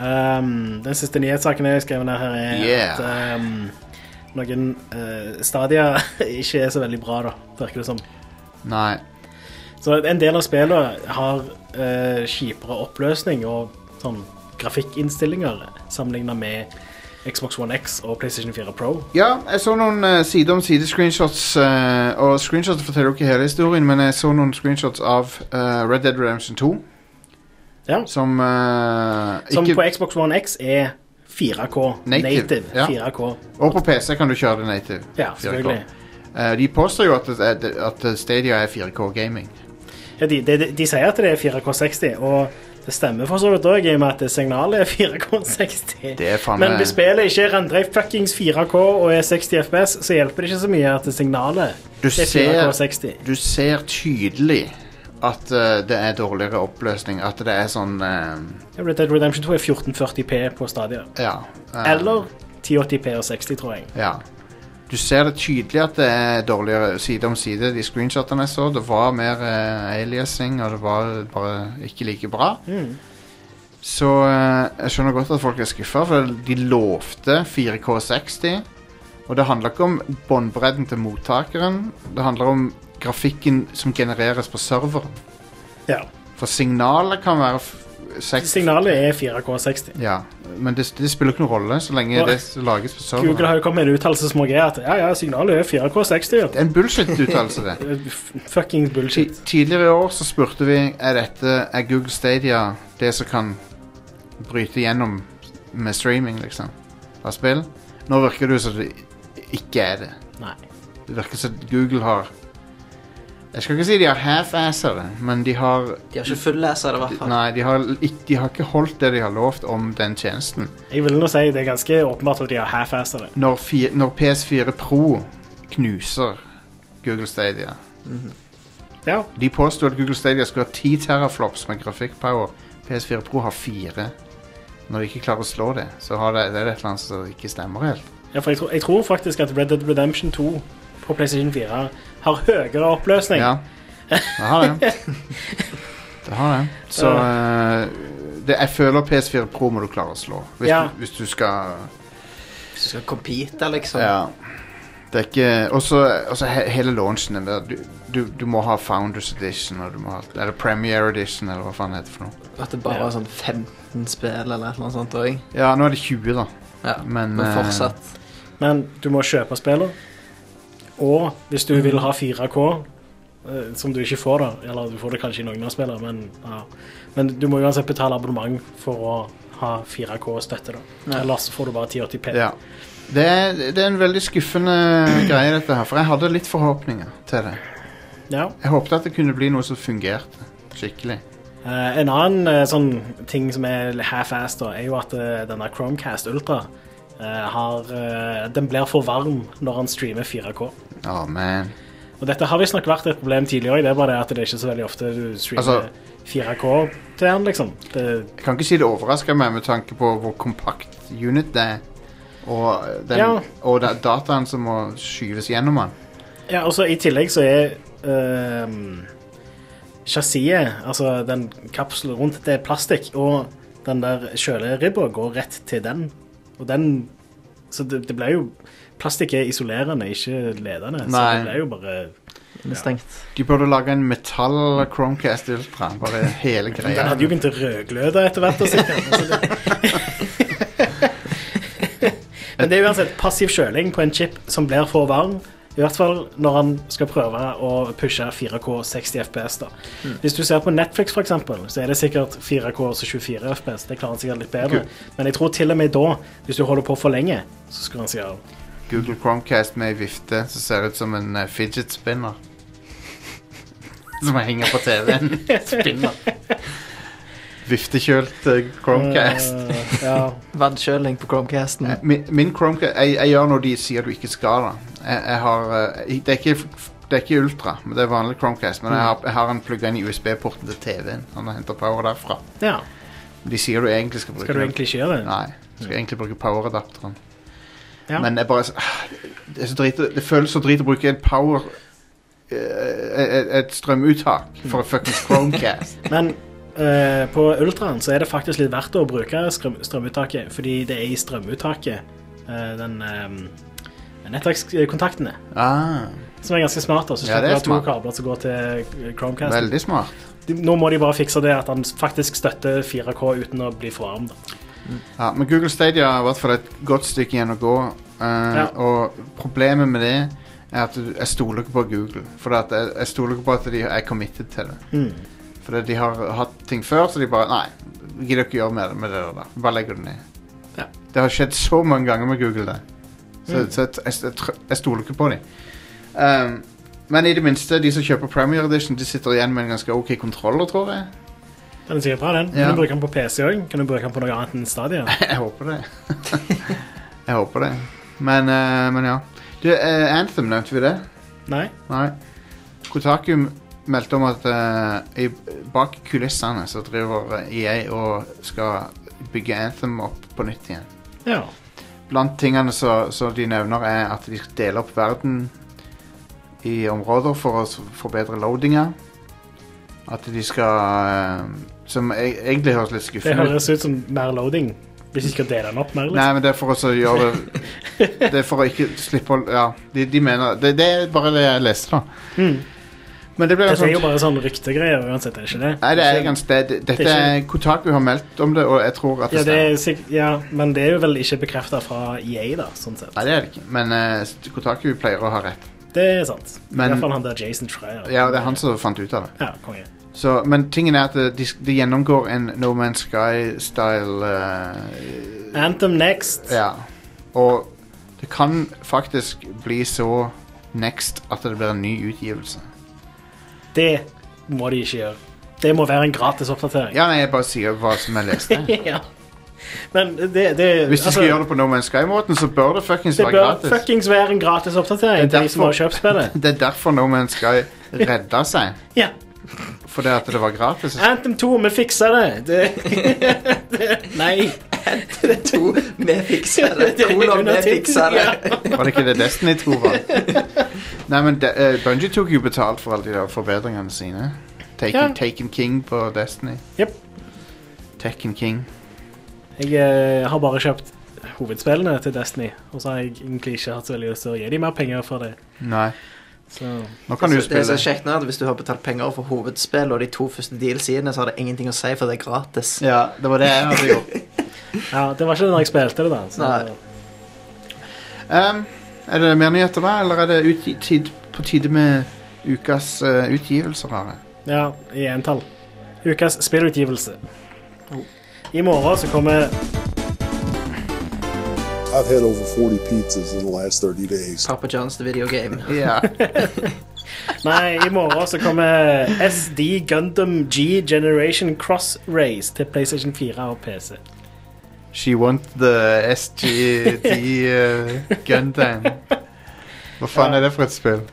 Speaker 3: Um, den siste nyhetssaken jeg skrev ned her, er
Speaker 2: Yeah.
Speaker 3: at um, noen eh, stadier ikke er så veldig bra, da, virker det som.
Speaker 2: Nei.
Speaker 3: Så en del av spillene har eh, kjipere oppløsning og sånn grafikkinnstillinger sammenligna med Xbox One X og PlayStation 4 Pro.
Speaker 2: Ja, jeg så noen eh, side om side screenshots, eh, og screenshots forteller jo ikke hele historien, men jeg så noen screenshots av eh, Red Dead Redemption 2,
Speaker 3: Ja.
Speaker 2: som eh,
Speaker 3: Som
Speaker 2: ikke,
Speaker 3: på Xbox One X er 4K.
Speaker 2: Native,
Speaker 3: Native.
Speaker 2: ja.
Speaker 3: 4K.
Speaker 2: Og på PC kan du kjøre det native.
Speaker 3: Ja, selvfølgelig.
Speaker 2: 4K. Eh, de påstår jo at, det- at Stadia er 4K-gaming.
Speaker 3: Ja, de, de, de sier at det er 4K60, og det stemmer for så vidt òg, i og med at signalet er 4K60.
Speaker 2: Det er faen
Speaker 3: Men
Speaker 2: meg-
Speaker 3: hvis spillet ikke rendrer i fuckings 4K og er 60 FPS, så hjelper det ikke så mye at signalet
Speaker 2: Du
Speaker 3: er
Speaker 2: ser,
Speaker 3: 4K60.
Speaker 2: du ser tydelig at eh, det er dårligere oppløsning, at det er sånn eh,
Speaker 3: Red Dead Redemption 2 er 1440P på stadia.
Speaker 2: Ja. eh,
Speaker 3: Eller 1080P og 60, tror jeg.
Speaker 2: Ja. Du ser det tydelig at det er dårligere side om side. De screenshotene jeg så, det var mer eh, aliasing, og det var bare ikke like bra. Så eh, jeg skjønner godt at folk er skuffa, for de lovte 4K60. Og det handler ikke om båndbredden til mottakeren, det handler om grafikken som genereres på serveren.
Speaker 3: Ja.
Speaker 2: For signalet kan være f- seks-
Speaker 3: Signalet er 4K60.
Speaker 2: Ja, men det, det spiller ikke noen rolle så lenge
Speaker 3: Og-
Speaker 2: det s- lages på serveren.
Speaker 3: Google har jo kommet med en uttalelse som også er at ja, ja, signalet er 4K60. ja.
Speaker 2: Det er en bullshit-uttalelse, det.
Speaker 3: F- Fucking bullshit.
Speaker 2: Ti- Tidligere i år så spurte vi Er dette er Google Stadia det som kan bryte gjennom med streaming, liksom, av spill. Nå virker det jo som det ikke er det.
Speaker 3: Nei.
Speaker 2: Det virker som Google har Jeg skal ikke si de har half-asser det, men de har
Speaker 4: De har ikke fullleser det, i hvert fall.
Speaker 2: Nei, de har, ikk- de har ikke holdt det de har lovt om den tjenesten.
Speaker 3: Jeg vil nå si det er ganske åpenbart at de har half-assa det.
Speaker 2: Når, fi, når PS4 Pro knuser Google Stadia
Speaker 3: Ja.
Speaker 2: De påstod at Google Stadia skulle ha 10 teraflops med grafikkpower. PS4 Pro har 4. Når de ikke klarer å slå det, så har det, det er det et eller annet som ikke stemmer helt.
Speaker 3: ja, for jeg tror, jeg tror faktisk at Red Dead Redemption 2 på PlayStation 4 har høyere oppløsning.
Speaker 2: Ja, det har det. Det har det. Så eh, det, jeg føler PS4 Pro må du klare å slå. Hvis,
Speaker 3: Ja.
Speaker 2: du, hvis du skal
Speaker 4: Hvis du skal compete, liksom.
Speaker 2: Ja. Det er ikke Og så he, hele launchen er mer du, du, du må ha Founders Edition, og du må ha Eller Premiere Edition, eller hva faen det heter for noe.
Speaker 4: At det bare er sånn 15 spill eller et eller annet sånt òg.
Speaker 2: Ja, nå er det 20, da.
Speaker 4: Ja.
Speaker 2: Men,
Speaker 4: Men
Speaker 2: eh,
Speaker 4: fortsatt.
Speaker 3: Men du må kjøpe spillet. Og hvis du vil ha 4K, eh, som du ikke får, da Eller du får det kanskje i noen av spillene, men, ja. men du må uansett betale abonnement for å ha 4K-støtte, da. Ellers får du bare 1080P.
Speaker 2: Ja. Det er, det er en veldig skuffende greie, dette her. For jeg hadde litt forhåpninger til det.
Speaker 3: Ja.
Speaker 2: Jeg håpte at det kunne bli noe som fungerte skikkelig.
Speaker 3: Eh, en annen eh, sånn ting som er half-ass, da, er jo at eh, denne Chromecast Ultra eh, har eh, Den blir for varm når han streamer 4K.
Speaker 2: Å, man.
Speaker 3: Og dette har visstnok vært et problem tidligere òg, det er bare det at det er ikke så veldig ofte du streamer
Speaker 2: Altså-
Speaker 3: 4K til han, liksom. Det,
Speaker 2: Jeg kan ikke si det overrasker meg med tanke på hvor kompakt unit det er. Og, den,
Speaker 3: Ja.
Speaker 2: og da, dataen som må skyves gjennom den.
Speaker 3: Ja, og så I tillegg så er ehm, chassiset, altså den kapselen rundt, det er plastikk. Og den der kjøleribba går rett til den. Og den Så det, det blir jo Plastikk er isolerende, ikke ledende. Så
Speaker 2: Nei.
Speaker 3: det blir jo bare
Speaker 4: Den er stengt.
Speaker 2: De burde lage en metall Chromecast Ultra. Bare hele
Speaker 3: Den
Speaker 2: greia.
Speaker 3: hadde jo begynt å rødgløde etter hvert. Altså. Altså, det- Men det er uansett passiv kjøling på en chip som blir for varm. I hvert fall når han skal prøve å pushe 4K 60 FPS. da. Hvis du ser på Netflix, for eksempel, så er det sikkert 4K og så 24 FPS. Det klarer han sikkert litt bedre. Men jeg tror til og med da, hvis du holder på for lenge, så skrur han seg av.
Speaker 2: Google Chromecast med ei vifte som ser ut som en eh, fidget spinner. Som henger på TV-en. Spinner. Viftekjølt eh, Chromecast.
Speaker 3: Eh, ja.
Speaker 4: Vannkjøling på Chromecasten.
Speaker 2: Eh, Min, min Chromecast jeg, jeg gjør noe de sier du ikke skal, da. Jeg, jeg har eh, Det er ikke f- det er ikke ultra, men det er vanlig Chromecast. Men jeg har, jeg har den plugga inn i USB-porten til TV-en. Han henter power derfra.
Speaker 3: ja.
Speaker 2: De sier du egentlig skal bruke
Speaker 3: Skal du
Speaker 2: den.
Speaker 3: egentlig ikke gjøre det?
Speaker 2: Nei. Du skal egentlig bruke power-adapteren.
Speaker 3: Ja.
Speaker 2: Men jeg bare så- ah, det, er så drit, det føles så drit å bruke en power eh, et, et strømuttak for å fuckings Chromecast.
Speaker 3: Men eh, på Ultraen så er det faktisk litt verdt å bruke strøm strømuttaket, fordi det er i strømuttaket eh, den eh, nettverkskontaktene,
Speaker 2: ah,
Speaker 3: som er ganske smart. da, så
Speaker 2: Ja, det er
Speaker 3: slipper du ha to
Speaker 2: smart.
Speaker 3: kabler som går til Chromecast.
Speaker 2: veldig smart.
Speaker 3: De- Nå må de bare fikse det at han faktisk støtter 4K uten å bli for varm. da.
Speaker 2: Ja, men Google Stadia har i hvert fall et godt stykke igjen å gå. eh,
Speaker 3: Ja.
Speaker 2: Og problemet med det er at du- jeg stoler ikke på Google. For at jeg, jeg stoler ikke på at de er committed til det.
Speaker 3: Mm.
Speaker 2: For de har hatt ting før, så de bare Nei, vi gidder ikke gjøre med det, med det der. da. Bare legger det ned.
Speaker 3: Ja.
Speaker 2: Det har skjedd så mange ganger med Google, det. Så,
Speaker 3: Mm.
Speaker 2: så jeg, jeg, jeg, tr- jeg stoler ikke på dem. Ehm, men i det minste, de som kjøper Premier Edition, de sitter igjen med en ganske OK kontroller, tror jeg.
Speaker 3: Den er sikkert bra, den.
Speaker 2: Ja.
Speaker 3: Kan du bruke den på PC òg? Kan du bruke den på noe annet enn Stadia?
Speaker 2: Jeg håper det. jeg håper det. Men, eh, men ja. Du, eh, Anthem, nevnte vi det?
Speaker 3: Nei?
Speaker 2: Nei. Kotaku m- meldte om at eh, i, bak kulissene så driver eh, EA og skal bygge Anthem opp på nytt igjen.
Speaker 3: Ja.
Speaker 2: Blant tingene så- som de nevner, er at de skal dele opp verden i områder for å s- forbedre loadinga. At de skal eh, Som e- egentlig høres litt
Speaker 3: Det
Speaker 2: skuffende ut.
Speaker 3: høres ut som mer loading. Hvis de skal dele den opp mer, liksom.
Speaker 2: Nei, men det er for å gjøre det Det er for å ikke slippe å Ja, de, de mener det, det er bare det jeg leste, da.
Speaker 3: Mm.
Speaker 2: Men det ble en
Speaker 3: Dette er jo
Speaker 2: sånn
Speaker 3: bare sånn ryktegreier uansett, er det ikke det?
Speaker 2: Nei, det er ganske det, Dette
Speaker 3: det er
Speaker 2: er Kotaku har meldt om det, og jeg tror at
Speaker 3: Ja,
Speaker 2: det
Speaker 3: det
Speaker 2: stemmer.
Speaker 3: er sikk- ja, men det er jo vel ikke bekrefta fra EA, da, sånn sett.
Speaker 2: Nei, det er det ikke. Men eh, Kotaku pleier å ha rett.
Speaker 3: Det er sant.
Speaker 2: Men-
Speaker 3: I hvert fall han der Jason Schreier.
Speaker 2: Ja, det er han som fant ut av det.
Speaker 3: Ja, konge.
Speaker 2: Så, men tingen er at eh, de, de gjennomgår en No Man's Sky-style eh,
Speaker 3: Anthem Next.
Speaker 2: Ja. Og det kan faktisk bli så next at det blir en ny utgivelse.
Speaker 3: Det må de ikke gjøre. Det må være en gratis oppdatering.
Speaker 2: Ja, nei, jeg bare sier hva som jeg leste.
Speaker 3: Ja. Men det, det altså,
Speaker 2: Hvis de skal gjøre det på No Man's Sky-måten, så bør det fuckings
Speaker 3: det
Speaker 2: være
Speaker 3: bør
Speaker 2: gratis.
Speaker 3: fuckings være en gratis oppdatering
Speaker 2: Det er
Speaker 3: til de som har
Speaker 2: derfor-
Speaker 3: kjøpt spillet.
Speaker 2: Det er derfor No Man's Sky redda seg.
Speaker 3: Ja.
Speaker 2: Fordi at det var gratis.
Speaker 3: Anthem 2, vi fiksa det. det. det nei.
Speaker 4: To, vi fikser det. Kolon, vi fikser det.
Speaker 2: Var det ikke det Destiny 2 var? Nei, men uh, Bungie tok jo betalt for alle de der forbedringene sine. Taken,
Speaker 3: Ja.
Speaker 2: Taken King på Destiny.
Speaker 3: Jep.
Speaker 2: Taken King.
Speaker 3: Jeg eh, har bare kjøpt hovedspillene til Destiny, og så har jeg egentlig ikke hatt så veldig lyst til å gi dem mer penger for det.
Speaker 2: Nei.
Speaker 3: Så
Speaker 2: Nå kan du
Speaker 4: Altså, Det er så
Speaker 2: spille.
Speaker 4: kjekt nå at Hvis du har betalt penger for hovedspill og de to første DLC-ene, så har det ingenting å si, for det er gratis.
Speaker 2: Ja, det var det jeg hadde gjort.
Speaker 3: Ja, det var ikke det da jeg spilte det, da. Så
Speaker 4: Nei.
Speaker 2: Um, er det mer nyheter da, eller er det utgi- tid, på tide med ukas eh, utgivelser? Are?
Speaker 3: ja, i entall. Ukas spillutgivelse. I morgen så kommer
Speaker 5: I've had over 40 pizzas in the last 30 days.
Speaker 4: Papa Johns The Video Game.
Speaker 2: Ja.
Speaker 3: Nei, i morgen så kommer SD Gundam G Generation Cross Race til PlayStation 4 og PC.
Speaker 2: She want the SGD uh, Gundam. Hva faen er det for et spill?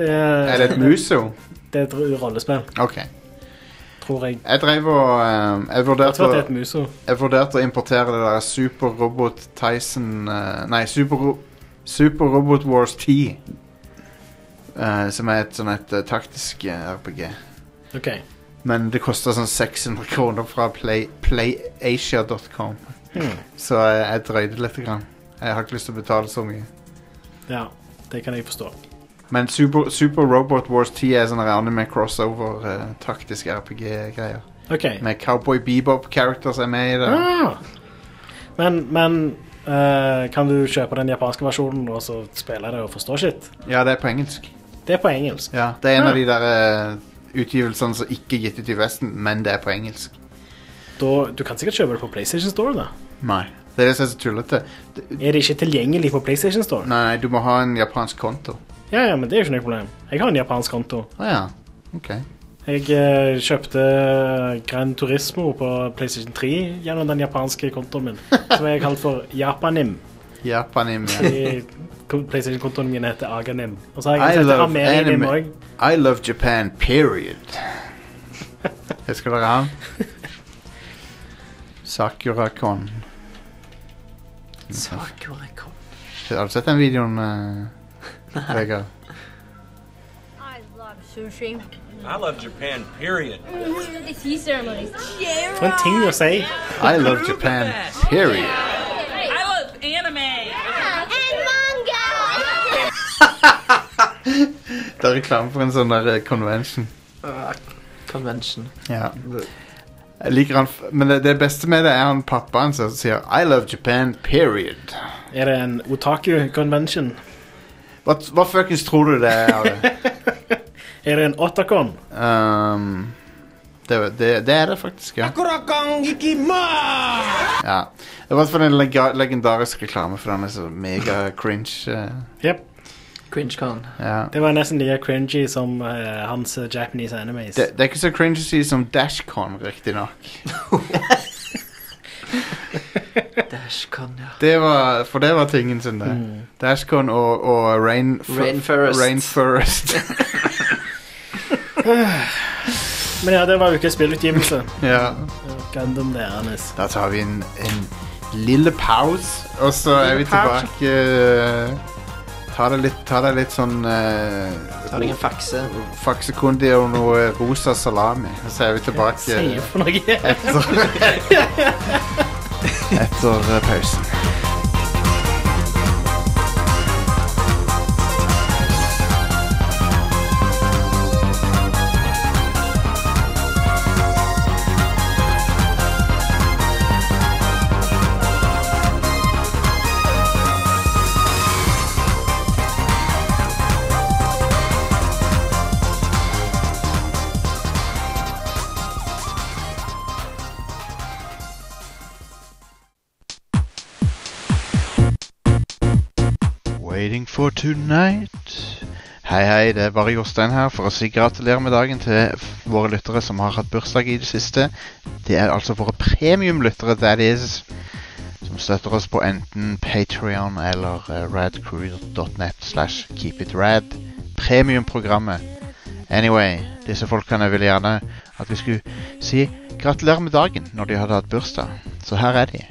Speaker 3: Det
Speaker 2: Er det et
Speaker 3: er,
Speaker 2: muso?
Speaker 3: det er et rollespill,
Speaker 2: Ok.
Speaker 3: tror jeg.
Speaker 2: Jeg drev og eh, jeg,
Speaker 3: Jeg tror
Speaker 2: vurderte,
Speaker 3: at det
Speaker 2: å-
Speaker 3: er et muso.
Speaker 2: jeg vurderte å importere det der Super Robot Tyson eh, Nei, Super, Ro- Super Robot Wars 10. eh, som er et sånn et eh, taktisk eh, RPG.
Speaker 3: Ok.
Speaker 2: Men det kosta sånn 600 kroner fra play, playasia.com.
Speaker 3: Hmm.
Speaker 2: Så jeg, jeg drøyde litt. Grann. Jeg har ikke lyst til å betale så mye.
Speaker 3: Ja, det kan jeg forstå.
Speaker 2: Men Super, Super Robot Wars 10 er sånn her anime crossover eh, taktisk RPG-greier.
Speaker 3: Ok.
Speaker 2: Med Cowboy Bebop-characters er med i det.
Speaker 3: Ah. Men, men eh, kan du kjøpe den japanske versjonen og så spille det og forstå shit?
Speaker 2: Ja, det er på engelsk.
Speaker 3: Det er på engelsk.
Speaker 2: Ja, Det er en
Speaker 3: Ah.
Speaker 2: av de der eh, utgivelsene som ikke er gitt ut i Vesten, men det er på engelsk.
Speaker 3: Da, du kan sikkert kjøpe det på PlayStation Store, da.
Speaker 2: Nei. Det er det som er så tullete. Det-
Speaker 3: Er det ikke tilgjengelig på PlayStation Store?
Speaker 2: Nei, du må ha en japansk konto.
Speaker 3: Ja, ja, men det er jo ikke noe problem. Jeg har en japansk konto.
Speaker 2: Å ja. OK.
Speaker 3: Jeg eh, kjøpte eh, Gran Turismo på PlayStation 3 gjennom den japanske kontoen min, som jeg har kalt for Japanim.
Speaker 2: Japanim. Ja.
Speaker 3: I kon- PlayStation-kontoen min heter Aganim. Og så har
Speaker 2: I
Speaker 3: jeg sett
Speaker 2: love
Speaker 3: Amerinim
Speaker 2: anime.
Speaker 3: òg.
Speaker 2: I love Japan, period. Husker dere han? Sakurakon.
Speaker 4: Sakurakon.
Speaker 2: Har du sett den videoen, eh, Vegard?
Speaker 7: I love sushi.
Speaker 10: I love Japan, period.
Speaker 7: The tea ceremonies.
Speaker 3: For en ting å si.
Speaker 2: I love Japan, period.
Speaker 10: I love anime.
Speaker 7: And manga!
Speaker 2: Det er reklame for en sånn der eh, convention.
Speaker 4: Ah, Convention.
Speaker 2: Ja. Jeg liker han, f- men det, det beste med det er han pappaen som sier I love Japan, period.
Speaker 3: Er det en otaku-convention?
Speaker 2: Hva, hva fuckings tror du det er av det?
Speaker 3: Er det en otakon?
Speaker 2: Um, det, det, det er det faktisk, ja. ja. Det var i hvert fall en lega- legendarisk reklame for den er så mega cringe. eh,
Speaker 3: Jep.
Speaker 4: Cringecon.
Speaker 2: ja.
Speaker 3: Det var nesten like cringy som eh, hans eh, Japanese animes.
Speaker 2: Det, det er ikke så cringe å si som Dashcon, riktignok.
Speaker 4: Dashcon, ja.
Speaker 2: Det var, for det var tingen sin, det. Dashcon og, og Rain,
Speaker 4: Rainforest.
Speaker 2: Rainforest.
Speaker 3: Men ja, det var ukens spillutgivelse.
Speaker 2: ja.
Speaker 3: Gundam deres.
Speaker 2: Da tar vi en, en lille pause, og så er vi tilbake eh, Ta det litt, ta det litt sånn eh,
Speaker 4: Har du ingen fakse?
Speaker 2: Faksekundi og noe rosa salami. Og så er vi tilbake
Speaker 3: Sier for noe.
Speaker 2: etter, etter eh, pausen. Waiting for tonight. Hei, hei, det er bare Jostein her for å si gratulerer med dagen til f- våre lyttere som har hatt bursdag i det siste. Det er altså våre premiumlyttere, that is, som støtter oss på enten Patreon eller eh, radcrew.net slash keepitrad. Premiumprogrammet. Anyway, disse folkene ville gjerne at vi skulle si gratulerer med dagen når de hadde hatt bursdag. Så her er de.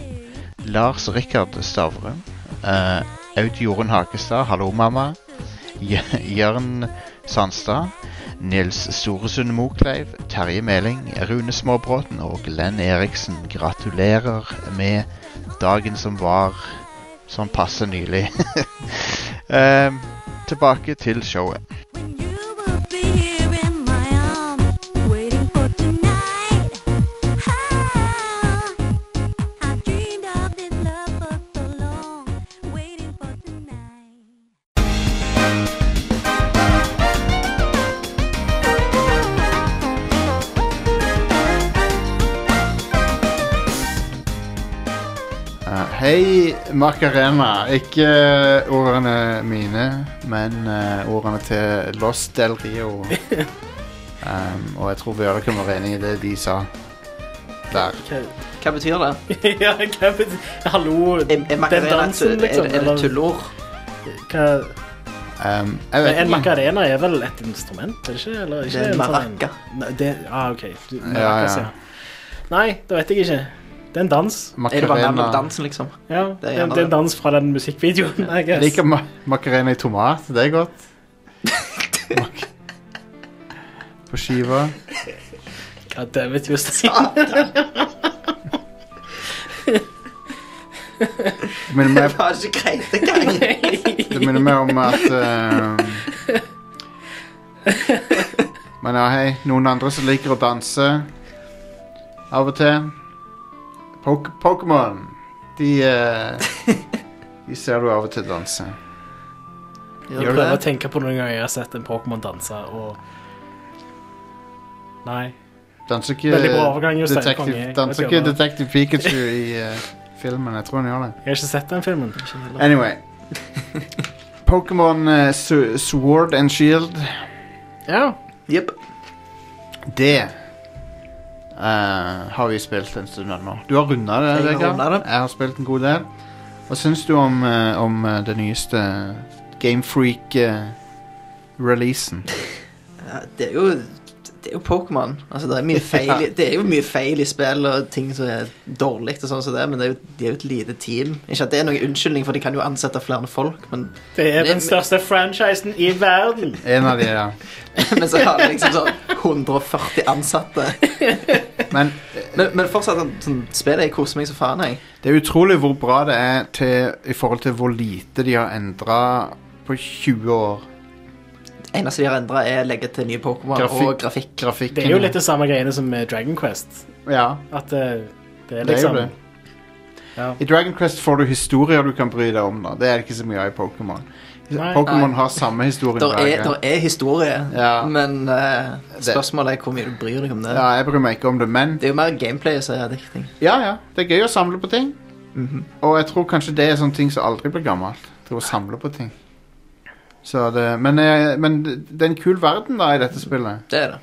Speaker 2: Lars Rikard Stavrum. eh, Aud Jorunn Hakestad, hallo mamma. Jø- Jørn Sandstad. Nils Storesund Mokleiv, Terje Meling, Rune Småbråten og Glenn Eriksen. Gratulerer med dagen som var sånn passe nylig. Eh, tilbake til showet.
Speaker 8: When you will be here in my arms, waiting for tonight. Ah, I've dreamed of this love for so long, waiting for tonight.
Speaker 2: Eh, hei, Macarena. Ikke eh, ordene mine, men eh, ordene til Los Del Rio. um, og jeg tror Bjørle kan være enig i det de sa der.
Speaker 4: Hva betyr det?
Speaker 3: ja, hva betyr Hallo,
Speaker 4: Er, er
Speaker 3: den
Speaker 4: Macarena et-
Speaker 3: dansen, liksom?
Speaker 4: er, er det
Speaker 3: eller
Speaker 4: tullord?
Speaker 3: hva-
Speaker 2: Um, jeg vet
Speaker 3: Men en
Speaker 2: ikke.
Speaker 3: macarena er vel et instrument? er det ikke? Eller, ikke
Speaker 4: Det er en
Speaker 3: sånn
Speaker 4: maraca.
Speaker 3: Nei, det, ah, ok. Du-
Speaker 2: Ja,
Speaker 3: Maracas,
Speaker 2: ja.
Speaker 3: ja. Nei, det vet jeg ikke. Det er en dans.
Speaker 4: Er det bare
Speaker 2: Macarena.
Speaker 4: navnet på dansen, liksom?
Speaker 3: Ja, det er,
Speaker 4: gjerne
Speaker 3: det er en dans fra den musikkvideoen, I
Speaker 2: Jeg
Speaker 3: guess.
Speaker 2: liker ma makarena i tomat. Det er godt. Mak- På skiva.
Speaker 3: God damn it, Jostein.
Speaker 2: Det minner
Speaker 4: Det
Speaker 2: meg,
Speaker 4: var ikke greit engang.
Speaker 2: det minner meg om at eh, Men ja, hei. Noen andre som liker å danse av og til. Pok- Pokémon. De eh, De ser du av og til danse.
Speaker 3: Jeg prøver å tenke på noen ganger jeg har sett en Pokémon danse, og Nei.
Speaker 2: Danser ikke
Speaker 3: Veldig bra overgang, Jostein. Konge.
Speaker 2: Detective,
Speaker 3: Jeg
Speaker 2: danser
Speaker 3: vet
Speaker 2: ikke
Speaker 3: ikke om det-
Speaker 2: Detective Pikachu i eh, filmen. Jeg tror han gjør det.
Speaker 3: Jeg har ikke sett den filmen.
Speaker 2: Anyway. Pokémon eh, Su- Sword and Shield,
Speaker 3: Ja.
Speaker 4: Jepp.
Speaker 2: det eh, har vi spilt en stund nå. Du har runda det,
Speaker 4: Jeg har
Speaker 2: Vegard.
Speaker 4: rundet det.
Speaker 2: Jeg har spilt en god del. Hva syns du om, eh, om eh, det nyeste eh, Gamefreak-releasen?
Speaker 4: Ja, det er jo det er jo Pokémon. Altså, det, er mye feil, i- det er jo mye feil i spill og ting som er dårlig, og sånn som det, men det er jo, de er jo et lite team. Ikke at det er noen unnskyldning, for de kan jo ansette flere folk, men,
Speaker 3: Det er
Speaker 4: Det-
Speaker 3: den største franchisen i verden.
Speaker 2: en av de, ja.
Speaker 4: men så har de liksom sånn 140 ansatte.
Speaker 2: Men
Speaker 4: Men, men fortsatt, sånn, sånn, spillet jeg koser meg så faen, jeg.
Speaker 2: det er utrolig hvor bra det er til, i forhold til hvor lite de har endra på 20 år.
Speaker 4: eneste de har endra, er å legge til nye Pokémon
Speaker 2: Grafikk.
Speaker 4: og grafikk.
Speaker 2: Grafikken
Speaker 3: Det er jo litt det samme greiene som med Dragon Quest.
Speaker 2: Ja,
Speaker 3: At eh, det er
Speaker 2: det er jo
Speaker 3: liksom
Speaker 2: det.
Speaker 3: Ja.
Speaker 2: I Dragon Quest får du historier du kan bry deg om. da Det er det ikke så mye av i Pokémon.
Speaker 3: Nei.
Speaker 2: Pokémon har samme historie.
Speaker 4: Der
Speaker 2: hver
Speaker 4: er,
Speaker 2: gang.
Speaker 4: der er historie,
Speaker 2: Ja.
Speaker 4: men eh,
Speaker 2: Det-
Speaker 4: spørsmålet er hvor mye du bryr deg om det.
Speaker 2: Ja, jeg bryr meg ikke om det, men
Speaker 4: Det er jo mer gameplay som er viktig.
Speaker 2: ja, ja, det er gøy å samle på ting.
Speaker 4: Mhm.
Speaker 2: Og jeg tror kanskje det er sånne ting som aldri blir gammelt. Det å samle på ting. Så det, men, eh, men det det er en kul verden da i dette spillet.
Speaker 4: Det er det.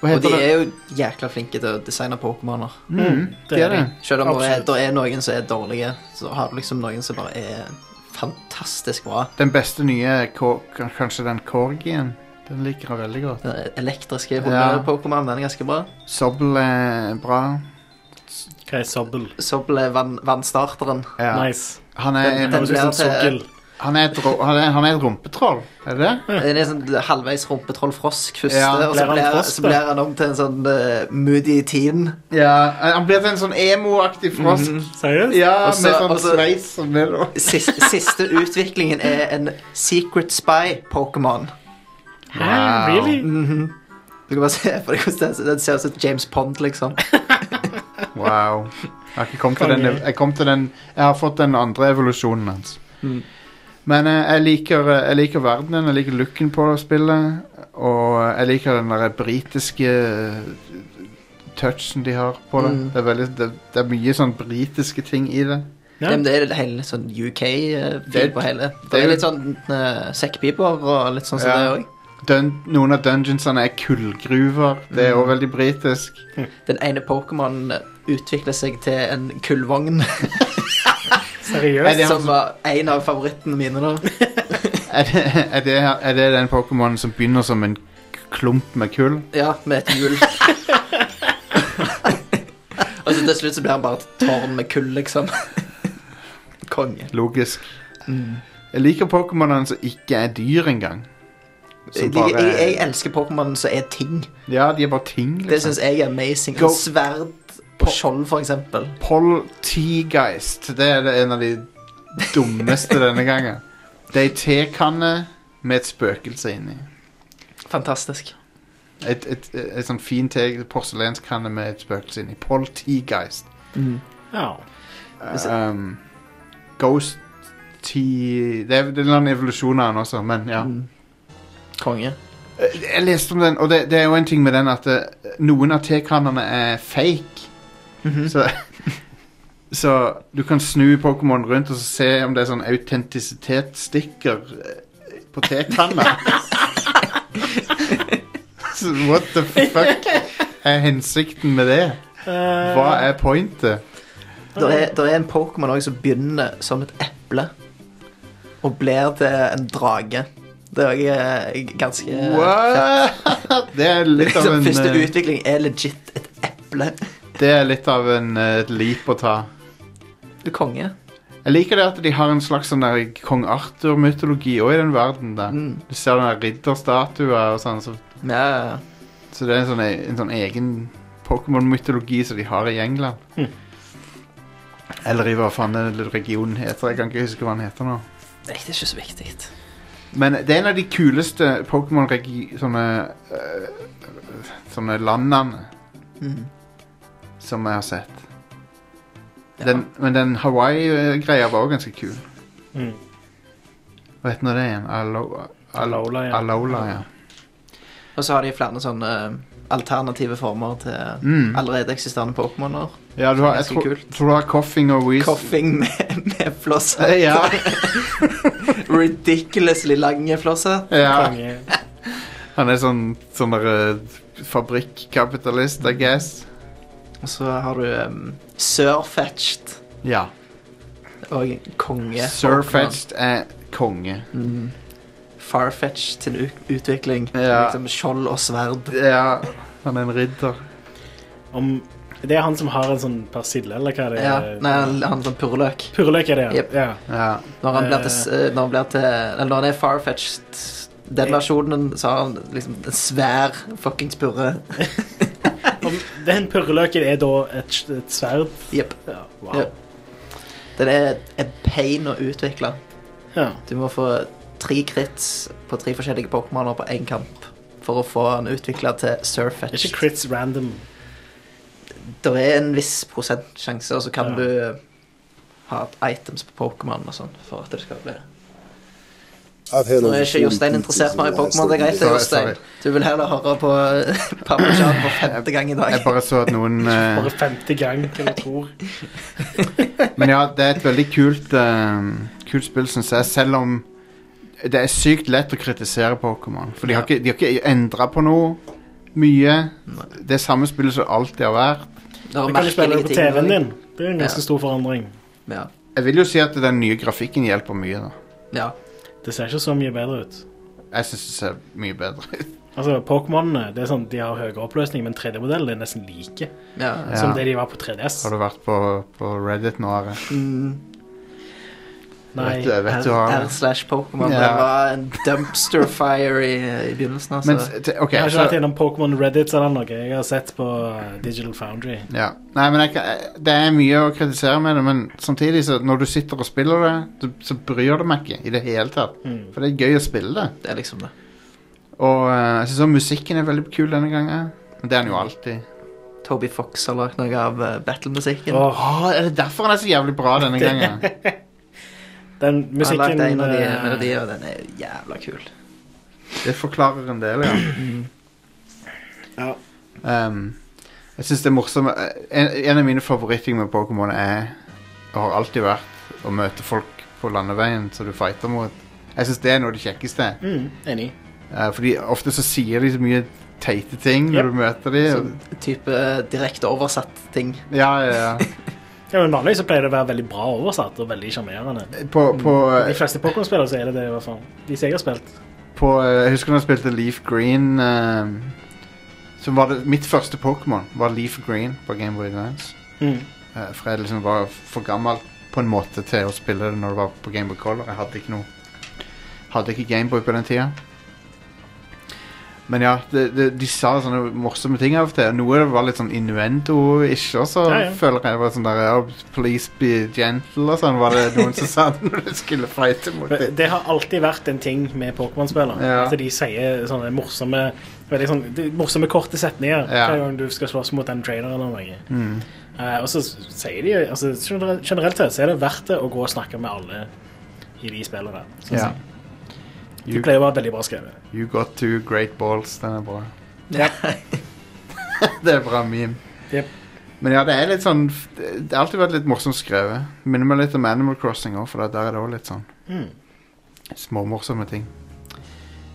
Speaker 2: Hva
Speaker 4: Og
Speaker 2: heter
Speaker 4: de
Speaker 2: det?
Speaker 4: er jo jækla flinke til å designe Pokémoner.
Speaker 2: Mm, det
Speaker 3: det
Speaker 2: er
Speaker 3: er de.
Speaker 2: det.
Speaker 4: Selv om det er,
Speaker 3: Absolutt.
Speaker 4: der er noen som er dårlige, så har du liksom noen som bare er fantastisk bra.
Speaker 2: Den beste nye kor- k- Kanskje den Korgien. Den liker jeg veldig godt.
Speaker 4: Den elektriske
Speaker 2: Ja.
Speaker 4: hunde-Pokémon, den er ganske bra.
Speaker 2: Sobble er bra.
Speaker 3: Hva er sobbel?
Speaker 4: Sobble er vann, vannstarteren.
Speaker 2: Ja.
Speaker 3: Nice.
Speaker 2: Han er,
Speaker 4: Den-
Speaker 2: en,
Speaker 3: Det
Speaker 4: den-
Speaker 3: høres ut som
Speaker 4: blir
Speaker 3: sokkel.
Speaker 2: han, er et, ro- han, er, han er et rumpetroll, er det det?
Speaker 4: Den er sånn halvveis rumpetroll frosk først,
Speaker 2: Ja,
Speaker 4: og
Speaker 3: blir
Speaker 4: så
Speaker 3: han
Speaker 4: blir,
Speaker 3: frosk,
Speaker 4: så
Speaker 3: da?
Speaker 4: blir han om til en sånn eh, moody teen.
Speaker 2: Ja, han blir til en sånn emo-aktig frosk.
Speaker 3: Seriøst?
Speaker 2: Ja,
Speaker 4: Og så-
Speaker 2: med sånn
Speaker 4: og så-
Speaker 2: sveis som det da.
Speaker 4: Siste, siste utviklingen er en secret spy Pokémon.
Speaker 3: Hæ, really?
Speaker 4: Du kan bare se for deg hvordan den- den ser ut som James Pond, liksom.
Speaker 2: Wow. Jeg har ikke kommet til
Speaker 3: Konge.
Speaker 2: den, jeg, kom til den, jeg har fått den andre evolusjonen hans.
Speaker 4: Mm.
Speaker 2: Men eh, jeg liker, eh, jeg liker verdenen, jeg liker looken på spillet, og eh, jeg liker den der britiske eh, touchen de har på det.
Speaker 4: Mm.
Speaker 2: Det, er veldig, det, det er mye sånn britiske ting i det.
Speaker 3: Ja.
Speaker 4: Ja. men Det er hele sånn UK-fil
Speaker 2: Det-
Speaker 4: på hele. Det,
Speaker 2: det er
Speaker 4: er
Speaker 2: jo-
Speaker 4: litt sånn uh, sekkpiper og litt sånn som
Speaker 2: Ja.
Speaker 4: det òg.
Speaker 2: Dun, noen av dungeonsene er kullgruver. Det er også veldig britisk.
Speaker 4: Den ene Pokémonen utvikler seg til en kullvogn,
Speaker 2: Er
Speaker 3: Seriøst?
Speaker 2: det han
Speaker 4: som
Speaker 2: som-
Speaker 4: var en av favorittene mine. da.
Speaker 2: Er det, er det, er det den Pokémonen som begynner som en klump med kull?
Speaker 4: Ja, med et hjul. Og så til slutt så blir han bare et tårn med kull, liksom. Konge.
Speaker 2: Logisk. Jeg liker Pokémonene som ikke er dyr engang.
Speaker 4: Jeg,
Speaker 2: Som
Speaker 4: liker-
Speaker 2: bare-
Speaker 4: jeg, jeg elsker Pokémon som er ting.
Speaker 2: Ja, de er bare ting,
Speaker 4: Det
Speaker 2: liksom.
Speaker 4: syns jeg er amazing.
Speaker 2: Go-
Speaker 4: Sverd på skjold, for eksempel.
Speaker 2: Poltegeist. Det er det en av de dummeste denne gangen. Det er ei tekanne med et spøkelse inni.
Speaker 4: Fantastisk.
Speaker 2: Et, et, et, et sånn fin te porselenskanne med et spøkelse inni. Poltegeist.
Speaker 3: Ja.
Speaker 2: Um, ghost tea Det er det er en eller annen evolusjon av den også, men ja.
Speaker 4: Konge.
Speaker 2: Jeg Eh, jeg leste om den, og det, det er jo en ting med den at eh, noen av tekannene er fake. så, så du kan snu Pokémon rundt og så se om det er sånn autentisitetsstikker eh, på tekanna. Så What the fuck er hensikten med det? Hva er pointet?
Speaker 4: Der er, der er en Pokémon også som begynner som et eple og blir til en drage. Det er også eh, ganske eh,
Speaker 2: What? Det er litt av en
Speaker 4: Liksom Første
Speaker 2: eh,
Speaker 4: utvikling er legit et eple.
Speaker 2: Det er litt av en eh, et leap å ta.
Speaker 4: Du konge.
Speaker 2: Jeg liker det at de har en slags sånn der kong Arthur-mytologi òg i den verden. der.
Speaker 4: Mm.
Speaker 2: Du ser den der ridderstatua og sånn. Så,
Speaker 4: Ja, ja, ja.
Speaker 2: så det er en sånn, e- en sånn egen Pokémon-mytologi som de har i England. Eller i hva faen den lille regionen heter. Jeg kan ikke huske hva den heter nå.
Speaker 4: Nei, det er ikke så viktig.
Speaker 2: Men det er en av de kuleste Pokémon-regi... Sånne, øh, sånne landene
Speaker 4: Mm.
Speaker 2: som jeg har sett. Den, men den Hawaii-greia var òg ganske kul.
Speaker 3: Mm.
Speaker 2: Hva heter nå det igjen? Alo, al,
Speaker 3: Alola, ja.
Speaker 2: Alola, ja.
Speaker 4: Og så har de flere sånne eh, alternative former til
Speaker 2: Mm.
Speaker 4: allerede eksisterende Pokémoner.
Speaker 2: ja du har, jeg
Speaker 4: Ganske
Speaker 2: tror,
Speaker 4: kult.
Speaker 2: tror du har Coffing og Weasel.
Speaker 4: Koffing med, med flosser.
Speaker 2: Eh, Ja,
Speaker 4: Ridiculously lange flosser.
Speaker 2: ja.
Speaker 3: Konge.
Speaker 2: Han er sånn, sånn der, øh, fabrikkapitalist, I guess.
Speaker 4: Og så har du um, Surfetched
Speaker 2: Ja.
Speaker 4: og konge.
Speaker 2: Surfetched er eh, konge.
Speaker 4: Mm. Farfetched til u- utvikling.
Speaker 2: Ja.
Speaker 4: Liksom skjold og sverd.
Speaker 2: Ja, han er en ridder.
Speaker 3: Om, det er han som har en sånn persille, eller hva det
Speaker 4: Ja.
Speaker 3: er?
Speaker 4: Nei, han sånn han som purreløk.
Speaker 3: Purreløk er det, ja.
Speaker 4: Jep.
Speaker 3: ja.
Speaker 2: Ja.
Speaker 4: Når han blir til, s-
Speaker 3: Eh.
Speaker 4: eh, når han, blir til eller når han er farfetched den
Speaker 3: Eh.
Speaker 4: versjonen, så har han liksom en svær fuckings purre.
Speaker 3: Om, den purreløken er da et, et sverd?
Speaker 4: Jep.
Speaker 3: Ja, wow.
Speaker 4: Jep. Den er en pain å utvikle.
Speaker 3: Ja.
Speaker 4: Du må få tre crits på tre forskjellige Pokémoner på én kamp for å få han utvikla til
Speaker 3: Er ikke
Speaker 4: surfetched.
Speaker 3: crits random?
Speaker 4: Det er en viss prosentsjanse, og så kan
Speaker 3: Ja.
Speaker 4: du ha items på Pokémon og sånn for at det skal bli
Speaker 5: I've had
Speaker 4: Nå
Speaker 5: over
Speaker 4: er
Speaker 5: 40
Speaker 4: ikke Jostein
Speaker 5: pizzas
Speaker 4: interessert
Speaker 5: in the
Speaker 4: mer i
Speaker 5: last
Speaker 4: Pokémon, det er
Speaker 5: 30
Speaker 4: greit, det,
Speaker 2: Sorry,
Speaker 4: Jostein.
Speaker 2: sorry.
Speaker 4: Du vil heller høre på eh, Parmesan for femte gang i
Speaker 2: Jeg
Speaker 4: dag.
Speaker 2: bare så at noen eh,
Speaker 3: Bare femte gang, hva du tror.
Speaker 2: Men ja, det er et veldig kult eh, Kult spill, synes jeg Selv om det er sykt lett å kritisere Pokémon For de har,
Speaker 4: Ja.
Speaker 2: ikke, de har ikke endret på noe Mye Det er samme spillet som alltid har vært
Speaker 4: Det er
Speaker 3: Du kan jo spille det på TV-en din. Det er en ganske
Speaker 4: Ja.
Speaker 3: stor forandring.
Speaker 4: Ja.
Speaker 2: Jeg vil jo si at den nye grafikken hjelper mye da
Speaker 4: ja.
Speaker 3: Det ser ikke så mye bedre ut.
Speaker 2: Jeg synes det ser mye bedre ut
Speaker 3: Altså, Pokémonene det er sånn, de har høyere oppløsning, men 3D-modellen er nesten like
Speaker 4: ja.
Speaker 2: Ja.
Speaker 3: som det de var på 3DS.
Speaker 2: Har du vært på, på Reddit nå, Are?
Speaker 4: Mm,
Speaker 3: Nei,
Speaker 2: Vet du, jeg vet du
Speaker 4: R
Speaker 2: har
Speaker 3: altså.
Speaker 4: slash Pokémon. Det
Speaker 2: Ja.
Speaker 4: var en dumpster fire i, i begynnelsen, altså.
Speaker 2: Men, s- t- ok
Speaker 3: jeg har ikke
Speaker 2: så,
Speaker 3: vært innom Pokémon Reddit eller noe. Jeg har sett på eh, Digital Foundry.
Speaker 2: ja. Nei, men jeg, kan- jeg- det er mye å kritisere med det Men samtidig så når du sitter og spiller det Så, så bryr du meg ikke i det hele tatt
Speaker 3: Mm.
Speaker 2: For det er gøy å spille det
Speaker 4: Det er liksom det.
Speaker 2: Og eh, jeg synes også musikken er veldig kul denne gangen. Men det er den jo alltid.
Speaker 4: Toby Fox har lagd noe av eh, battlemusikken.
Speaker 3: Åh.
Speaker 2: Åh, er det derfor den er så jævlig bra denne gangen?
Speaker 3: Den
Speaker 4: Han har
Speaker 3: musikken
Speaker 4: lagd en av de
Speaker 3: eh,
Speaker 4: melodiene, og den er jævla kul.
Speaker 2: Det forklarer en del, ja.
Speaker 3: Mm. Ja.
Speaker 2: Ehm, jeg synes det er morsomt. eh, En, en av mine favorittting med Pokémon er, og har alltid vært, å møte folk på landeveien som du fighter mot. Jeg synes det er noe av det kjekkeste.
Speaker 3: Mm, enig.
Speaker 2: Eh, fordi ofte så sier de så mye teite ting når
Speaker 3: Yep.
Speaker 2: du møter dem.
Speaker 4: Sånn type eh, direkte oversatt ting.
Speaker 2: Ja, ja, ja.
Speaker 3: Ja, men Vanligvis så pleier det å være veldig bra oversatt og veldig sjarmerende.
Speaker 2: På, på,
Speaker 3: De fleste Pokémon-spillere så er det det, i hvert fall. De som jeg har spilt.
Speaker 2: på eh, Jeg husker når jeg spilte Leaf Green eh, Som var det Mitt første Pokémon var Leaf Green på Game Boy Advance.
Speaker 3: Mm.
Speaker 2: Eh, for jeg liksom var for gammel på en måte til å spille det når det var på Game Boy Color. Jeg hadde ikke noe Hadde ikke Game Boy på den tida. Men ja, det, det, de sa sånne morsomme ting av og til. Noe var litt sånn innuendo-ish også,
Speaker 3: Ja, ja.
Speaker 2: føler jeg. Det var sånn der, ja, Please be gentle og sånn, var det noen som sa når du skulle fighte mot
Speaker 3: Men
Speaker 2: dem.
Speaker 3: Det har alltid vært en ting med Pokémon-spillere.
Speaker 2: Ja.
Speaker 3: At de sier sånne morsomme veldig sånn, de- morsomme korte setninger
Speaker 2: Ja.
Speaker 3: hver gang du skal slåss mot en trainer eller noe.
Speaker 2: Mm.
Speaker 3: Eh, og så sier de altså, generelt, generelt sett så er det verdt det å gå og snakke med alle i de spillene. Så,
Speaker 2: Ja.
Speaker 3: De pleier å være veldig bra skrevet.
Speaker 2: You got two great balls. Den er bra.
Speaker 4: Ja.
Speaker 2: det er bra meme.
Speaker 3: Jep.
Speaker 2: Men ja, det er litt sånn Det har alltid vært litt morsomt skrevet. Minner meg litt om Animal Crossing òg, for der er det òg litt sånn
Speaker 3: Mm.
Speaker 2: småmorsomme ting.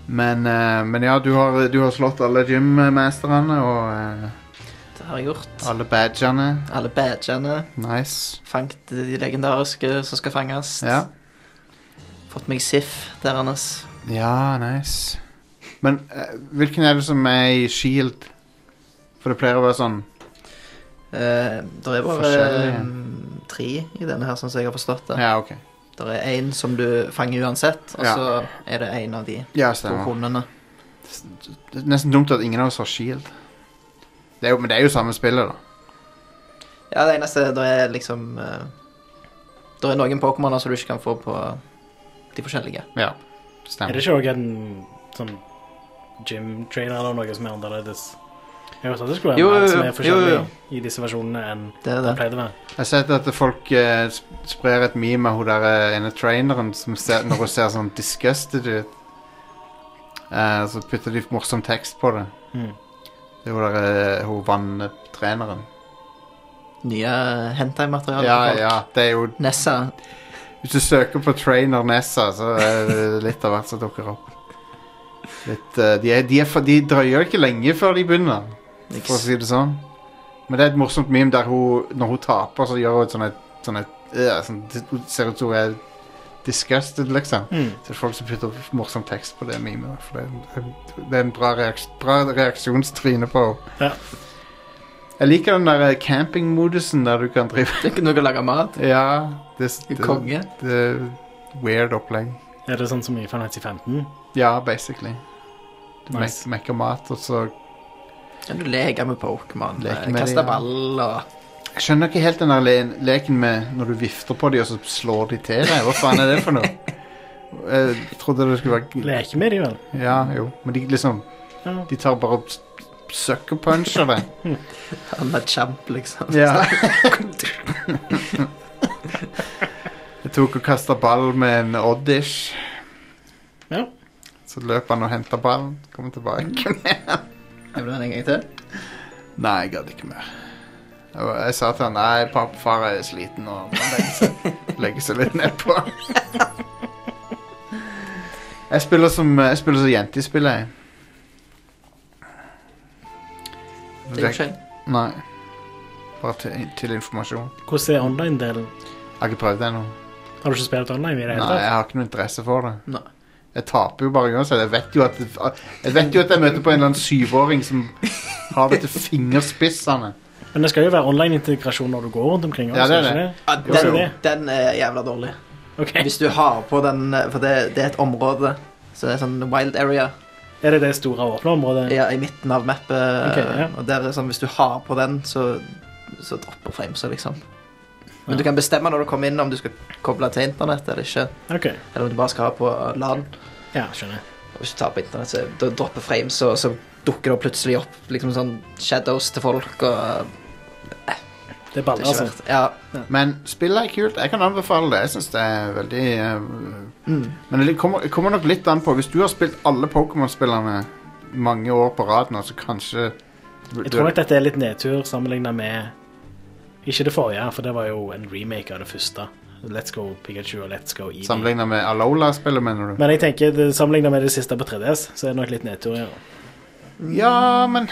Speaker 2: Men, eh, men ja, du har, du har slått alle gymmasterne og eh,
Speaker 4: Det har jeg gjort.
Speaker 2: alle badgene.
Speaker 4: Alle badgene.
Speaker 2: Nice.
Speaker 4: Fangt de legendariske som skal fanges.
Speaker 2: Ja.
Speaker 4: Fått meg Sif deres.
Speaker 2: Ja, nice. Men eh, hvilken er det som er i Shield? For det pleier å være sånn
Speaker 4: Eh, det er bare
Speaker 2: Forskjellige.
Speaker 4: eh, tre i denne her, sånn som jeg har forstått det.
Speaker 2: Ja, ok.
Speaker 4: Det er én som du fanger uansett, og
Speaker 2: Ja.
Speaker 4: så er det én av de
Speaker 2: Ja,
Speaker 4: to
Speaker 2: stemmer.
Speaker 4: hundene.
Speaker 2: Det er nesten dumt at ingen av oss har Shield. E Det er jo, men det er jo samme spillet, da.
Speaker 4: Ja, det eneste det er liksom eh, Det er noen Pokémoner som du ikke kan få på de forskjellige.
Speaker 2: Ja,
Speaker 3: Er
Speaker 2: stemmer.
Speaker 3: det ikke òg en sånn gym trainer eller noe som er annerledes? Jeg har hørt at det skulle være
Speaker 4: Jo,
Speaker 3: en
Speaker 4: jo,
Speaker 3: app som
Speaker 4: jo,
Speaker 3: er forskjellig
Speaker 4: jo,
Speaker 3: i disse versjonene enn
Speaker 4: Det er
Speaker 3: det
Speaker 4: det.
Speaker 3: pleide å være.
Speaker 2: Jeg har sett at folk eh, sp- sprer et meme av hun der eh, ene traineren som ser, når hun ser sånn disgusted ut. Eh, så putter de morsom tekst på det.
Speaker 3: Mm.
Speaker 2: Det er hun der eh, hun vanntreneren.
Speaker 4: Nye hentai-materialer.
Speaker 2: Ja, ja, det er jo
Speaker 4: Nessa.
Speaker 2: Hvis du søker på Trainer Nessa, så er det litt av hvert som dukker opp. Litt, eh, de, er, de, er, for- de drøyer ikke lenge før de begynner,
Speaker 4: Niks.
Speaker 2: for å si det sånn. Men det er et morsomt meme der hun, når hun taper, så gjør hun et sånn et sånn et, øh, sånn, det ser ut som hun er disgusted, liksom.
Speaker 3: Mm.
Speaker 2: Så det er folk som putter morsom tekst på det memet. For det er, en- det er en bra, reaks, bra reaksjonstrine på henne.
Speaker 3: Ja.
Speaker 2: Jeg liker den der eh, campingmodusen der du kan drive
Speaker 4: Det er ikke noe å lage mat.
Speaker 2: Ja, det, det,
Speaker 4: Konge.
Speaker 2: det er weird opplegg.
Speaker 3: Er det sånn som i Final Fantasy 15?
Speaker 2: Ja, basically. Du mek-
Speaker 3: Nice.
Speaker 2: mekker mat, og så
Speaker 4: Kan du leke med Pokémon?
Speaker 2: Leke
Speaker 4: eh,
Speaker 2: med de,
Speaker 4: Kaste
Speaker 2: ja.
Speaker 4: ball og
Speaker 2: Jeg skjønner ikke helt den der le leken med når du vifter på dem, og så slår de til deg. Hva faen er det for noe? Jeg trodde det skulle være
Speaker 3: Leke med de, vel?
Speaker 2: Ja, jo. Men de liksom
Speaker 3: Ja.
Speaker 2: De tar bare og s- sucker puncher deg.
Speaker 4: Han er champ, liksom.
Speaker 2: Ja. Jeg tok og kasta ball med en oddish.
Speaker 3: Ja.
Speaker 2: Så løp han og henta ballen. Kom tilbake.
Speaker 4: Vil du ha den en gang til?
Speaker 2: Nei, jeg gadd ikke mer. Jeg, var- jeg sa til han nei, pappa, far er sliten og legge seg, legge seg litt nedpå. Jeg spiller som Jeg spiller som jente i spillet, jeg.
Speaker 4: Det er jo skjønt.
Speaker 2: Nei. Bare til, til informasjon.
Speaker 3: Hvordan er online-delen?
Speaker 2: Jeg har ikke prøvd det ennå.
Speaker 3: Har du ikke spilt online i det hele
Speaker 2: Nei, jeg
Speaker 3: tatt?
Speaker 2: har ikke noe interesse for det.
Speaker 4: Nei.
Speaker 2: Jeg taper jo bare uansett. Jeg vet jo at Jeg vet jo at jeg møter på en eller annen syvåring som har det til fingerspissene.
Speaker 3: Men det skal jo være online-integrasjon når du går rundt omkring.
Speaker 2: Ja, det er
Speaker 3: skal
Speaker 4: Ja,
Speaker 3: Jo,
Speaker 4: den,
Speaker 3: jo.
Speaker 4: den er jævla dårlig.
Speaker 3: ikke det?
Speaker 4: Hvis du har på den eh, For det, det er et område. Så det er sånn wild area
Speaker 3: Ok. Er det det store åpne området?
Speaker 4: ja, i midten av mappet.
Speaker 3: Ok, ja.
Speaker 4: Og der er sånn, hvis du har på den, så, så dropper framesa, liksom. Men
Speaker 3: Ja.
Speaker 4: du kan bestemme når du kommer inn om du skal koble til internett eller ikke.
Speaker 3: Ok,
Speaker 4: Eller om du bare skal ha på LAN.
Speaker 3: ja, skjønner jeg.
Speaker 4: Og hvis du tar på internett, så da dropper frames, og så dukker det plutselig opp liksom sånn shadows til folk. og...
Speaker 3: Det er
Speaker 4: Det
Speaker 3: baller,
Speaker 4: er ikke
Speaker 3: altså.
Speaker 4: verdt. Ja.
Speaker 2: Men spillet er kult. Jeg kan anbefale det. Jeg synes det er veldig eh,
Speaker 4: Mm.
Speaker 2: Men det kommer, det kommer nok litt an på. Hvis du har spilt alle Pokémon-spillerne mange år på rad nå, så kanskje
Speaker 3: Jeg tror nok dette er litt nedtur sammenlignet med Ikke det forrige, for det var jo en remake av det første. Let's Go Pikachu og Let's Go E Eevee.
Speaker 2: Sammenligna med Alola-spillet, mener du?
Speaker 3: Men jeg tenker, det- sammenlignet med det siste på 3DS, så er det nok litt nedtur. Ja.
Speaker 2: Ja, men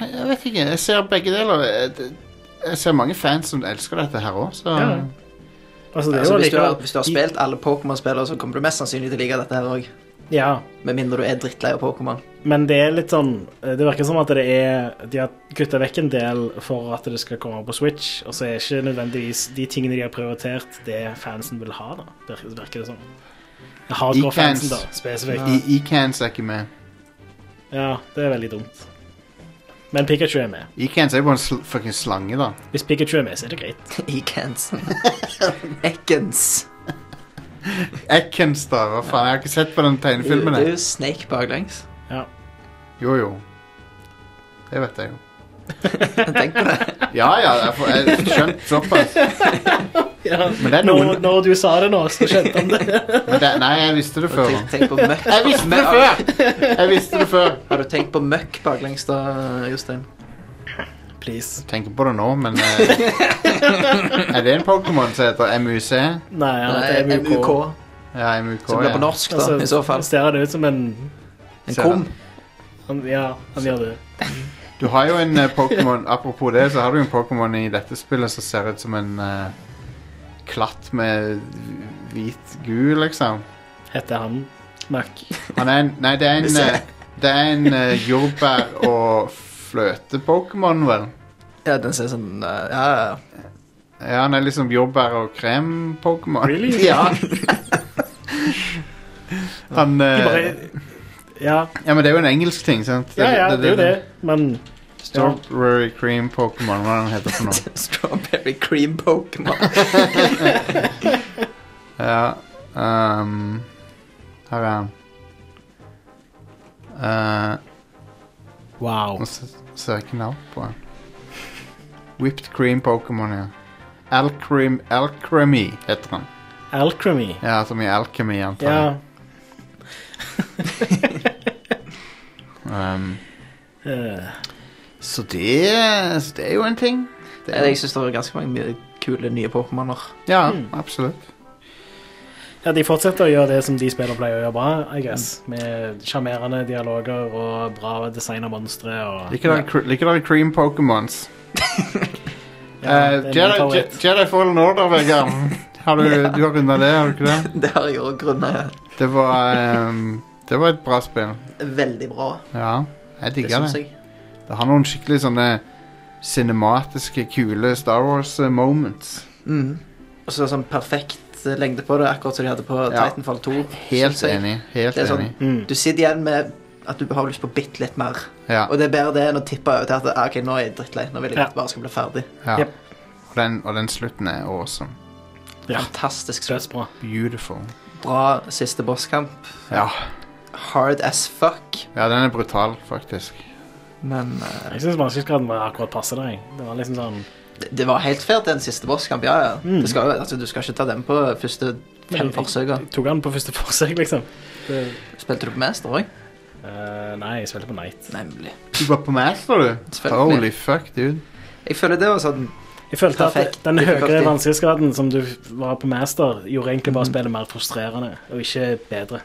Speaker 2: Jeg vet ikke. Jeg ser begge deler. Jeg- Jeg ser mange fans som elsker dette her òg, så
Speaker 3: Ja. Altså, det er
Speaker 4: Altså,
Speaker 3: jo
Speaker 4: hvis, du har,
Speaker 3: allikevel-
Speaker 4: hvis du har spilt alle Pokémon-spillere, så kommer du mest sannsynlig til å like dette her òg.
Speaker 3: Ja,
Speaker 4: Med mindre du er drittlei av Pokémon.
Speaker 3: men det er litt sånn Det virker som at det er De har kutta vekk en del for at det skal komme på Switch, og så er ikke nødvendigvis de tingene de har prioritert, det fansen vil ha, da. Virker, virker det som. Hardcore-fansen, da, spesifikt.
Speaker 2: I- Ecans er ikke med.
Speaker 3: Ja, det er veldig dumt. Men Pikachu er med.
Speaker 2: Ecans er jo bare en sl fucking slange, da.
Speaker 3: Hvis Pikachu er med, så er det greit.
Speaker 4: Ekans. Ekans.
Speaker 2: Ekans, da. Hva faen? Jeg har ikke sett på den
Speaker 4: Det
Speaker 2: tegnefilmen.
Speaker 4: er
Speaker 2: jeg.
Speaker 4: jo Snake baklengs.
Speaker 3: Ja.
Speaker 2: Jo, jo. Det vet jeg jo.
Speaker 4: Tenk på det.
Speaker 2: Ja, ja, jeg får- jeg har skjønt såpass. Men det er
Speaker 3: Når,
Speaker 2: noen
Speaker 3: når du sa det nå, så skjønte han det.
Speaker 2: men det, Nei, jeg visste det før.
Speaker 4: Tenk, tenk på møkk.
Speaker 2: Jeg visste det
Speaker 4: Men-
Speaker 2: før! Jeg visste det før.
Speaker 4: Har du tenkt på møkk baklengs da, Jostein?
Speaker 3: Please.
Speaker 2: Tenker på det nå, men eh, Er det en Pokémon som heter MUC?
Speaker 3: Nei, han heter
Speaker 4: Nei, MUK.
Speaker 3: MUK.
Speaker 2: Ja, MUK,
Speaker 4: Som blir
Speaker 2: ja.
Speaker 4: på norsk, da,
Speaker 3: Altså,
Speaker 4: i så fall.
Speaker 3: Ser han ut som en
Speaker 4: En
Speaker 2: ser
Speaker 4: krum.
Speaker 3: han, Ja, han gjør det.
Speaker 2: Du har jo en eh, Pokémon Apropos det, så har du en Pokémon i dette spillet som ser ut som en eh, klatt med hvit gul, liksom.
Speaker 3: Heter han Smack.
Speaker 2: Han er en, nei, det er en, eh, det er en eh, jordbær- og fløte-Pokémon, vel?
Speaker 4: Ja, den ser sånn eh, Ja, ja, ja.
Speaker 2: Ja, han er liksom jordbær- og krem-Pokémon.
Speaker 3: Really?
Speaker 4: Ja,
Speaker 2: Han eh,
Speaker 3: De bare Ja,
Speaker 2: Ja, men det er jo en engelsk ting, sant?
Speaker 3: ja, ja det er jo det, men
Speaker 2: Strawberry cream Pokémon, hva er det han heter for noe?
Speaker 4: Strawberry cream Pokémon.
Speaker 2: Ja ehm, Her er han. Eh,
Speaker 3: Wow.
Speaker 2: nå s- ser jeg ikke navn på han. Whipped cream Pokémon, ja. Alcrim, Alcremy heter han.
Speaker 3: Alchemy.
Speaker 2: Ja, som i alkemi, antar jeg.
Speaker 3: Ja.
Speaker 2: Ehm,
Speaker 3: eh,
Speaker 2: så, det, så det er jo en ting. Det er,
Speaker 4: Jeg syns det er ganske mange mye kule nye Pokémoner.
Speaker 2: ja,
Speaker 3: Hmm.
Speaker 2: absolutt.
Speaker 3: Ja, De fortsetter å gjøre det som de spiller pleier å gjøre bra, I guess. Med sjarmerende dialoger og bra design av monstre. Og...
Speaker 2: Liker dere cre- liker dere cream Pokémons?
Speaker 3: Ja,
Speaker 2: Eh,
Speaker 3: det er min
Speaker 2: Jedi, Je-
Speaker 3: favoritt.
Speaker 2: Jedi Fallen Order, Vegard. Har du,
Speaker 4: Ja.
Speaker 2: du har runda det, har du ikke det?
Speaker 4: Det har jeg òg grunna
Speaker 2: Det var, ehm, det var et bra spill.
Speaker 4: veldig bra.
Speaker 2: Ja, jeg
Speaker 4: Det
Speaker 2: digger
Speaker 4: syns
Speaker 2: det.
Speaker 4: jeg.
Speaker 2: Det har noen skikkelig sånne cinematiske, kule Star Wars eh, moments.
Speaker 4: Mm. Og så sånn perfekt eh, lengde på det, akkurat som de hadde på
Speaker 2: Ja.
Speaker 4: Titanfall 2.
Speaker 2: Helt
Speaker 4: synes jeg.
Speaker 2: enig. Helt
Speaker 4: Det er sånn,
Speaker 2: enig.
Speaker 3: Mm.
Speaker 4: Du sitter igjen med at du har lyst på bitte litt mer.
Speaker 2: Ja,
Speaker 4: Og det er bedre det enn å tippe over til at ah, ok, nå er jeg drittlei. Nå vil jeg
Speaker 3: Ja.
Speaker 4: bare skal bli ferdig.
Speaker 2: ja.
Speaker 3: Jep.
Speaker 2: Og, den, og den slutten er awesome.
Speaker 3: Ja.
Speaker 4: Fantastisk. slutt.
Speaker 3: Dødsbra.
Speaker 2: Beautiful.
Speaker 4: Bra siste bosskamp.
Speaker 2: Ja.
Speaker 4: Hard as fuck.
Speaker 2: ja, den er brutal, faktisk.
Speaker 4: Men eh,
Speaker 3: Jeg syns vanskelighetsgraden var akkurat passe der. jeg. Det var liksom sånn
Speaker 4: det- det var helt fair til en siste bosskamp, ja ja.
Speaker 3: Mm.
Speaker 4: Det skal, jo- altså, du skal ikke ta den på første
Speaker 3: Men
Speaker 4: fem
Speaker 3: jeg-
Speaker 4: forsøker.
Speaker 3: jeg Tok han på første forsøk, liksom? Det...
Speaker 4: Spilte du på Master òg?
Speaker 3: Eh, nei, jeg spilte på Night.
Speaker 4: Nemlig.
Speaker 2: Du var på master, du?
Speaker 4: Selvfølgelig.
Speaker 2: Holy fuck, dude.
Speaker 4: Jeg føler det var sånn
Speaker 3: Jeg følte at
Speaker 4: Perfekt.
Speaker 3: den høyere
Speaker 4: Difficulty.
Speaker 3: vanskelighetsgraden som du var på Master, gjorde egentlig bare
Speaker 4: Mhm.
Speaker 3: spillet mer frustrerende, og ikke bedre.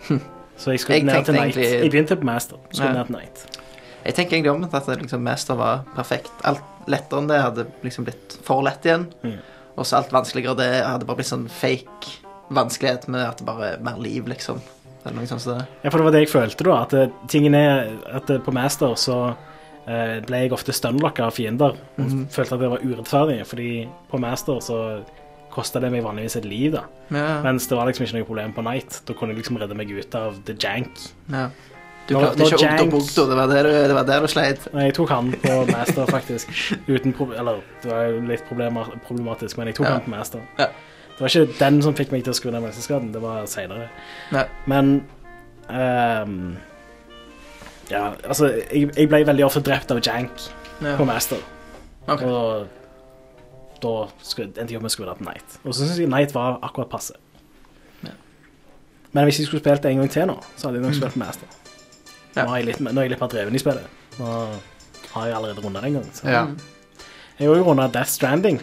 Speaker 3: Så jeg
Speaker 4: Hm. Jeg
Speaker 3: skulle ned
Speaker 4: tenkte
Speaker 3: til Night.
Speaker 4: egentlig-
Speaker 3: Jeg begynte på Master. Skulle
Speaker 4: Ja.
Speaker 3: ned til Night.
Speaker 4: Jeg tenker egentlig omvendt at det liksom Master var perfekt. Alt lettere enn det hadde liksom blitt for lett igjen.
Speaker 3: Mm.
Speaker 4: Og så alt vanskeligere det hadde bare blitt sånn fake vanskelighet med at det bare er mer liv, liksom. Eller noe sånt som det.
Speaker 3: Ja, for det var det jeg følte, da. At eh, tingen er at eh, på Master så eh, ble jeg ofte stunlocka av fiender. Og
Speaker 4: Mhm.
Speaker 3: Følte at det var urettferdig, fordi på Master så kosta det meg vanligvis et liv, da.
Speaker 4: Ja,
Speaker 3: Mens det var liksom ikke noe problem på Night. Da kunne jeg liksom redde meg ut av the jank.
Speaker 4: ja. Du
Speaker 3: Når-
Speaker 4: klarte
Speaker 3: når
Speaker 4: ikke
Speaker 3: Jank-
Speaker 4: Ogdo Bogdo, det var der du, det var der du sleit.
Speaker 3: Nei, jeg tok han på master, faktisk. Uten pro Eller, det var jo litt problema- problematisk, men jeg tok
Speaker 4: Ja.
Speaker 3: han på master.
Speaker 4: Ja.
Speaker 3: Det var ikke den som fikk meg til å skru ned menneskeskaden, det var seinere.
Speaker 4: Nei.
Speaker 3: Men ehm, Ja, altså, jeg, jeg ble veldig ofte drept av jank
Speaker 4: Ja.
Speaker 3: på master.
Speaker 4: Ok.
Speaker 3: Og da sku- endte jeg opp med å skru det på Night. Og så syns jeg Night var akkurat passe.
Speaker 4: Ja.
Speaker 3: Men hvis jeg skulle spilt det en gang til nå, så hadde jeg nok
Speaker 2: Mm.
Speaker 3: spilt master.
Speaker 4: Ja.
Speaker 3: Nå, er jeg litt, nå er jeg litt mer dreven i spillet. Nå har jeg allerede runda det en gang. Så.
Speaker 2: Ja.
Speaker 4: Mm.
Speaker 3: Jeg har jo runda Death Stranding.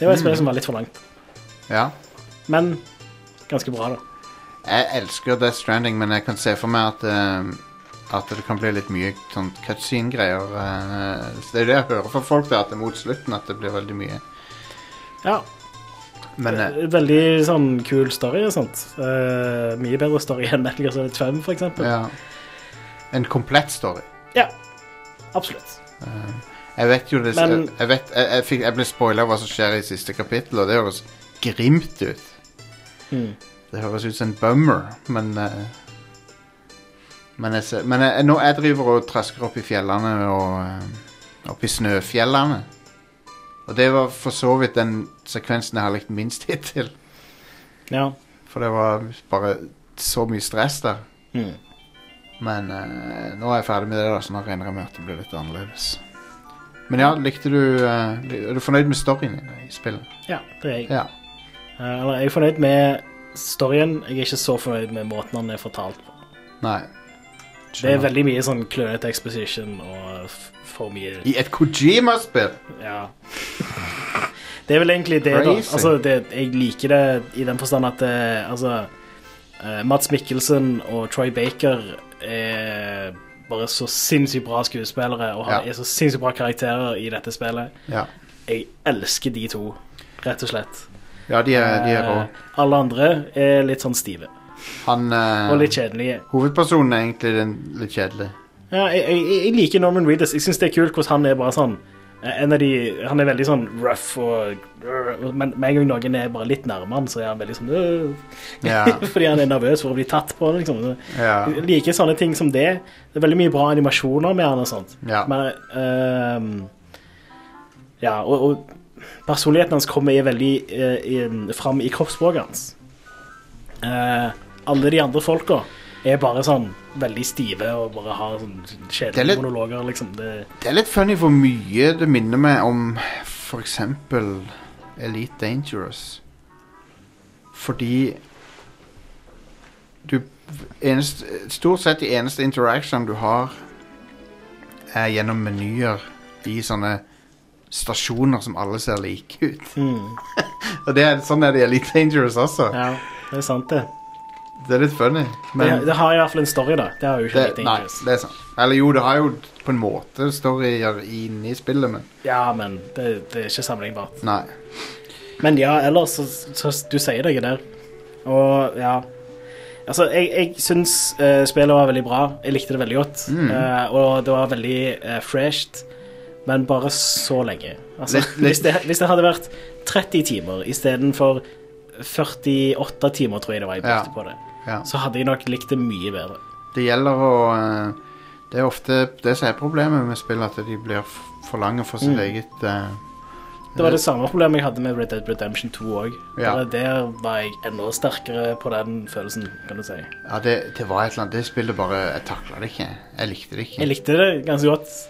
Speaker 3: Det var et
Speaker 2: Mm.
Speaker 3: spill som var litt for langt.
Speaker 2: ja.
Speaker 3: Men ganske bra, da.
Speaker 2: Jeg elsker Death Stranding, men jeg kan se for meg at eh, At det kan bli litt mye sånn cutscene-greier. eh, så det er det jeg hører fra folk, da, at det er mot slutten at det blir veldig mye.
Speaker 3: Ja,
Speaker 2: Men eh,
Speaker 3: Veldig sånn kul story og sånt. Eh, mye bedre story enn Metal Gear Solid 5, for eksempel.
Speaker 2: ja. En komplett story.
Speaker 3: Ja, absolutt.
Speaker 2: Jeg vet jo det
Speaker 3: Men-
Speaker 2: jeg, jeg, vet, jeg, jeg, fikk, jeg ble spoila hva som skjer i siste kapittel, og det høres grimt ut.
Speaker 3: Mm.
Speaker 2: Det høres ut som en bummer, men eh, Men, jeg, ser- men jeg, nå jeg driver og trasker opp i fjellene og eh, opp i snøfjellene. Og det var for så vidt den sekvensen jeg har likt minst hittil.
Speaker 3: Ja.
Speaker 2: For det var bare så mye stress der.
Speaker 3: Mm.
Speaker 2: Men eh, nå er jeg ferdig med det, da, så nå regner jeg med at det blir litt annerledes. Men ja, likte du eh, li- Er du fornøyd med storyen i- i spillet?
Speaker 3: Ja, det er jeg.
Speaker 2: Ja.
Speaker 3: Eh, Eller, jeg er fornøyd med storyen. Jeg er ikke så fornøyd med måten den er fortalt på.
Speaker 2: Nei.
Speaker 3: Det er veldig mye sånn klønete exposition og f- for mye
Speaker 2: I et Kojima-spill!
Speaker 3: Ja. Det er vel egentlig det, da.
Speaker 2: Crazy.
Speaker 3: Altså, det, jeg liker det i den forstand at eh, altså eh, Mats Mikkelsen og Troy Baker er bare så sinnssykt bra skuespillere og har,
Speaker 2: Ja.
Speaker 3: er så sinnssykt bra karakterer i dette spillet.
Speaker 2: Ja.
Speaker 3: Jeg elsker de to, rett og slett.
Speaker 2: ja, de er, de er rå.
Speaker 3: Eh, Alle andre er litt sånn stive.
Speaker 2: Han eh,
Speaker 3: Og litt kjedelige.
Speaker 2: Hovedpersonen er egentlig den litt kjedelig.
Speaker 3: Ja, jeg, jeg, jeg liker Norman Reedus. Jeg syns det er kult hvordan han er bare sånn eh, en av de, Han er veldig sånn rough, og, og- men med en gang noen er bare litt nærmere han, så er han veldig sånn øh,
Speaker 2: Ja.
Speaker 3: Fordi han er nervøs for å bli tatt på. Liksom. Så
Speaker 2: Ja.
Speaker 3: Jeg liker sånne ting som det. Det er veldig mye bra animasjoner med han og sånt.
Speaker 2: Ja.
Speaker 3: Men, ehm, ja, og, og personligheten hans kommer i veldig eh, inn- fram i kroppsspråket hans. Eh, alle de andre folka er bare sånn veldig stive og bare har sånn
Speaker 2: Det er
Speaker 3: kjedelige
Speaker 2: litt-
Speaker 3: monologer, liksom. Det,
Speaker 2: Det er litt funny hvor mye det minner meg om for eksempel Elite Dangerous. Fordi du eneste, Stort sett de eneste interactionene du har, er gjennom menyer i sånne stasjoner som alle ser like ut.
Speaker 3: mm,
Speaker 2: Og det er, sånn er det i Elite Dangerous også.
Speaker 3: ja, det er sant, det.
Speaker 2: Det er litt funny. Men
Speaker 3: det. Det har i hvert fall en story, da. Det har jo ikke
Speaker 2: det,
Speaker 3: Elite
Speaker 2: nei,
Speaker 3: Dangerous.
Speaker 2: det er sant. Eller jo, det har jo på en måte storyer inni spillet, men
Speaker 3: Ja, men det, det er ikke sammenlignbart.
Speaker 2: nei.
Speaker 3: Men ja, ellers så, så Du sier deg der. Og ja Altså, jeg, jeg syns eh, spillet var veldig bra. Jeg likte det veldig godt.
Speaker 2: Mm.
Speaker 3: Eh, og det var veldig uh, fresht, men bare så lenge. Altså,
Speaker 2: Litt- litt-
Speaker 3: Hvis, det, hvis det hadde vært 30 timer istedenfor 48 timer, tror jeg det var jeg
Speaker 2: Ja.
Speaker 3: brukte på det,
Speaker 2: Ja.
Speaker 3: så hadde jeg nok likt det mye bedre.
Speaker 2: Det gjelder å eh, Det er ofte det som er problemet med spill, at de blir f- for lange for sitt
Speaker 3: Mm.
Speaker 2: eget eh,
Speaker 3: Det var det samme problemet jeg hadde med Red Dead Redemption 2 òg.
Speaker 2: Ja.
Speaker 3: Der var jeg enda sterkere på den følelsen, kan du si.
Speaker 2: Ja, det, det var et eller annet Det spillet bare Jeg takla det ikke. Jeg likte det ikke.
Speaker 3: Jeg likte det ganske godt.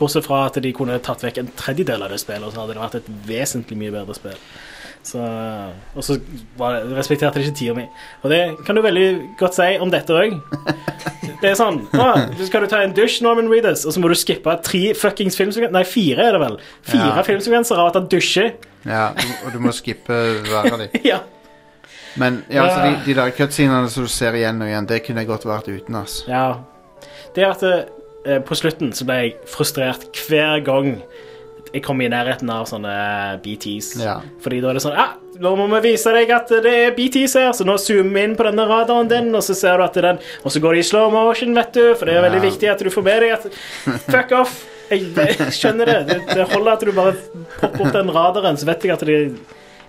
Speaker 3: Bortsett fra at de kunne tatt vekk en tredjedel av det spillet, og så hadde det vært et vesentlig mye bedre spill. Så, og så var det, respekterte de ikke tida mi. Og det kan du veldig godt si om dette òg. Det er sånn Nå skal du ta en dusj, Norman Reedus, og så må du skippe tre fuckings filmsekvenser Nei, fire er det vel. Fire
Speaker 2: Ja.
Speaker 3: filmsekvenser av at han dusjer.
Speaker 2: Ja, du- og du må skippe hver av de.
Speaker 3: ja.
Speaker 2: Men ja, altså,
Speaker 3: Ja.
Speaker 2: de, de der cutscenene som du ser igjen og igjen, det kunne jeg godt vært uten. ass.
Speaker 3: ja. Det at eh, på slutten så ble jeg frustrert hver gang jeg kom i nærheten av sånne BTs.
Speaker 2: Ja.
Speaker 3: Fordi da er det sånn ah, Nå må vi vise deg at det er BTs her, så nå zoomer vi inn på denne radaren din, og så ser du at det er den Og så går det i slow motion, vet du, for det er veldig
Speaker 2: Ja.
Speaker 3: viktig at du får med deg at Fuck off! Jeg, jeg skjønner det. det. Det holder at du bare popper opp den radaren, så vet jeg at det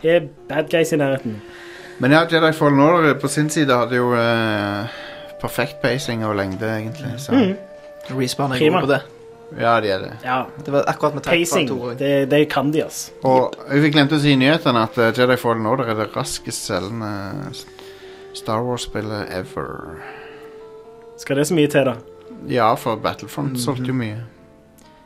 Speaker 3: er bad guys i nærheten.
Speaker 2: Men ja, Jedi Fallen Order på sin side hadde jo eh, perfekt pacing og lengde, egentlig. Så
Speaker 3: Mm.
Speaker 4: Respawn er
Speaker 3: Prima.
Speaker 4: god på det.
Speaker 2: ja, de er det.
Speaker 3: Ja.
Speaker 4: Det var akkurat med tanke på
Speaker 3: Pacing,
Speaker 4: at Tore-
Speaker 3: det, det kan de, altså.
Speaker 2: Og vi glemte å si i nyhetene at eh, Jedi Fallen Order er det raskest selgende Star Wars-spillet ever.
Speaker 3: Skal det så mye til, da?
Speaker 2: Ja, for Battlefront solgte jo mye.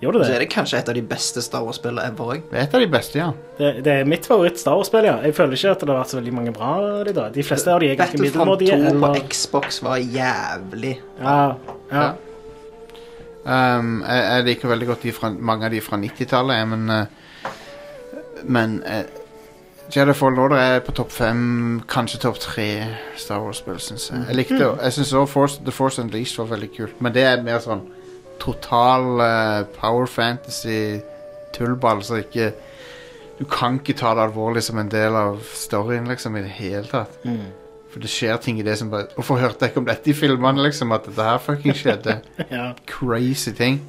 Speaker 3: Gjorde
Speaker 4: Så
Speaker 3: det?
Speaker 4: er det kanskje et av de beste Star Wars-spillene ever òg.
Speaker 2: Det er et av de beste, ja.
Speaker 3: det? Det er mitt favoritt-Star Wars-spill, ja. Jeg føler ikke at det har vært så veldig mange bra av de da. De fleste av de er ganske
Speaker 4: Battlefront 2
Speaker 3: middelmådige.
Speaker 4: på
Speaker 3: Eller...
Speaker 4: Xbox var jævlig.
Speaker 3: Ja, ja.
Speaker 2: Ja. Um, jeg, jeg liker veldig godt de fra, mange av de fra 90-tallet, jeg, men eh, Men eh, Jedi Fallen Order er på topp fem, kanskje topp tre Star Wars-spill, syns jeg. Jeg likte Jeg syns også Force, The Force Unleashed var veldig kult, men det er mer sånn total eh, power fantasy-tullball, så ikke Du kan ikke ta det alvorlig som en del av storyen, liksom, i det hele tatt.
Speaker 3: Mm.
Speaker 2: For det skjer ting i det som bare Hvorfor hørte jeg ikke om dette i filmene, liksom? At dette her fucking skjedde?
Speaker 3: ja.
Speaker 2: Crazy ting.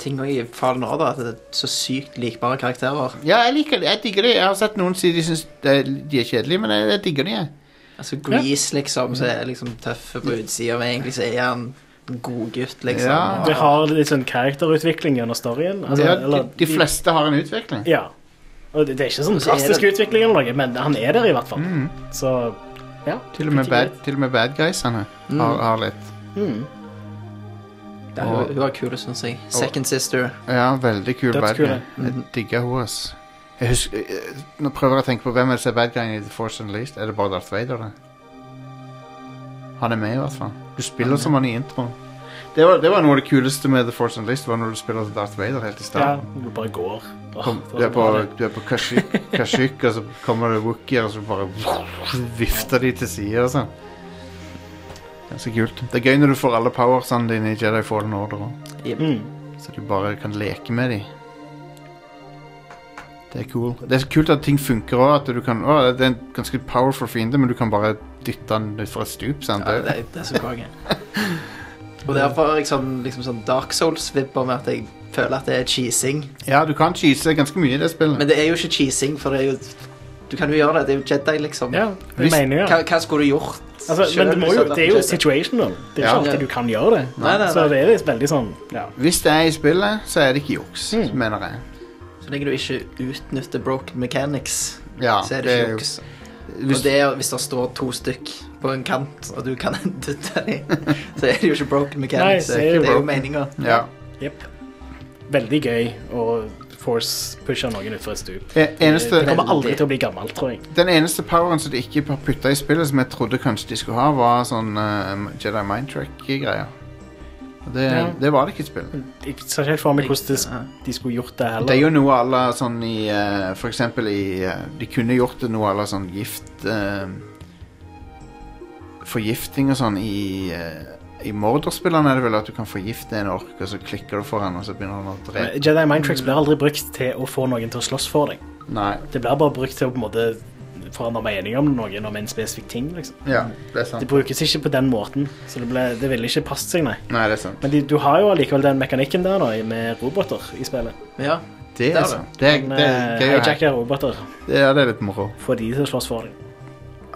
Speaker 4: Ting også i Fallen Order at det er så sykt likbare karakterer.
Speaker 2: Ja, jeg liker det. Jeg digger det. Jeg har sett noen si de syns det er- de er kjedelige, men jeg, jeg digger de. jeg.
Speaker 4: Altså Grease, liksom, så er liksom tøff på utsida, men egentlig så er han en god gutt, liksom.
Speaker 2: Ja.
Speaker 3: Det har litt sånn karakterutvikling gjennom storyen. altså,
Speaker 2: Ja,
Speaker 3: eller-
Speaker 2: de, de fleste har en utvikling.
Speaker 3: Ja. Og det, det er ikke sånn
Speaker 4: Så er
Speaker 3: drastisk
Speaker 4: det-
Speaker 3: utvikling eller noe, men han er der i hvert fall.
Speaker 2: Mm.
Speaker 3: Så ja.
Speaker 2: Til, og med
Speaker 3: det er
Speaker 2: bad,
Speaker 3: greit.
Speaker 2: til og med bad guysene
Speaker 4: Mm.
Speaker 2: har, har litt.
Speaker 3: Mm.
Speaker 4: Ja, hun, hun var kul, syns jeg. Second Sister.
Speaker 2: Ja, veldig kul bad
Speaker 3: Dødskule. Mm.
Speaker 2: guy. Jeg digger henne, ass. Jeg husker, eh, nå prøver jeg å tenke på hvem er det som er bad guyen i The Force Unleashed. Er det bare Darth Vader, det? Han er med, i hvert fall. Du spiller som han i introen. Det var, det var noe av det kuleste med The Force Unleashed, var når du spiller som Darth Vader helt i
Speaker 3: Ja,
Speaker 2: starten.
Speaker 3: du bare går. Åh,
Speaker 2: Kom, du, Ah, er
Speaker 3: det var så bra,
Speaker 2: på,
Speaker 3: det.
Speaker 2: du er på Kashyyyk, Kashyyyk, og så kommer det Wookier, og så bare vifter de til side og sånn. Ganske kult. Det er gøy når du får alle powersene dine i Jedi Fallen Order, også,
Speaker 3: Mm.
Speaker 2: så du bare kan leke med de. Det er cool. Det er så kult at ting funker òg. At du kan Å, det er en ganske powerful fiende, men du kan bare dytte den ut fra et stup. Sant?
Speaker 4: Ja, det, det er så konge. Og derfor liksom, liksom sånn Dark Souls-vibber med at jeg føler at det er cheesing.
Speaker 2: ja, du kan cheese ganske mye i det spillet.
Speaker 4: Men det er jo ikke cheesing, for det er jo Du kan jo gjøre det. Det er jo Jedi, liksom.
Speaker 3: Ja, det mener jeg.
Speaker 4: hva, hva skulle du gjort?
Speaker 3: Altså, men
Speaker 4: selv
Speaker 3: det, må
Speaker 4: hvis
Speaker 3: jo,
Speaker 4: du hadde
Speaker 3: det er jo
Speaker 4: vært Jedi?
Speaker 3: situational. Det er
Speaker 2: Ja.
Speaker 3: ikke alltid du kan gjøre det.
Speaker 4: Nei, nei,
Speaker 3: Så
Speaker 4: nei.
Speaker 3: det er veldig sånn ja.
Speaker 2: Hvis det er i spillet, så er det ikke juks,
Speaker 4: Mm.
Speaker 2: mener jeg.
Speaker 4: Så lenge du ikke utnytter broken mechanics,
Speaker 2: Ja,
Speaker 4: så er det
Speaker 2: det er
Speaker 4: ikke
Speaker 2: jo-
Speaker 4: juks.
Speaker 2: Hvis,
Speaker 4: Og det er hvis det står to stykk på en kant, og du kan dytte dem, så er det jo ikke broken mechanics.
Speaker 3: så er det
Speaker 4: det, er jo
Speaker 3: broken.
Speaker 4: meninga.
Speaker 2: ja.
Speaker 3: Jep. Veldig gøy å force-pushe noen utfor et stup.
Speaker 2: E-
Speaker 3: Eh, Det
Speaker 2: Eneste,
Speaker 3: kommer aldri til å bli gammelt, tror jeg.
Speaker 2: den eneste poweren som de ikke har putta i spillet, som jeg trodde kanskje de skulle ha, var sånn eh, Jedi Mind Track-greier. Og Det,
Speaker 3: Ja.
Speaker 2: det var det ikke i spillet.
Speaker 3: Jeg ser ikke helt for meg hvordan de, de skulle gjort det
Speaker 2: Det er
Speaker 3: heller.
Speaker 2: jo noe à la sånn i eh, For eksempel i eh, De kunne gjort det noe à la sånn gift eh, Forgifting og sånn i uh, I Morder-spillene er det vel at du kan forgifte en ork, og så klikker du for han, og så begynner han å
Speaker 3: Men
Speaker 2: drepe
Speaker 3: Jedi Mind Tricks blir aldri brukt til å få noen til å slåss for deg.
Speaker 2: Nei.
Speaker 3: Det blir bare brukt til å på en måte forandre mening om noen om en spesifikk ting. liksom.
Speaker 2: Ja, det er sant.
Speaker 3: Det brukes ikke på den måten, så det, ble, det ville ikke passet seg, nei.
Speaker 2: Nei, det er sant.
Speaker 3: Men de, du har jo allikevel den mekanikken der da, med roboter i spillet.
Speaker 4: Ja.
Speaker 2: Det
Speaker 4: er
Speaker 2: er
Speaker 4: det.
Speaker 2: sant. Det er,
Speaker 3: Men,
Speaker 2: det er
Speaker 3: eh,
Speaker 2: gøy å hacke.
Speaker 3: hijacker roboter.
Speaker 2: Det er, det er litt moro.
Speaker 3: Få de til å slåss for deg.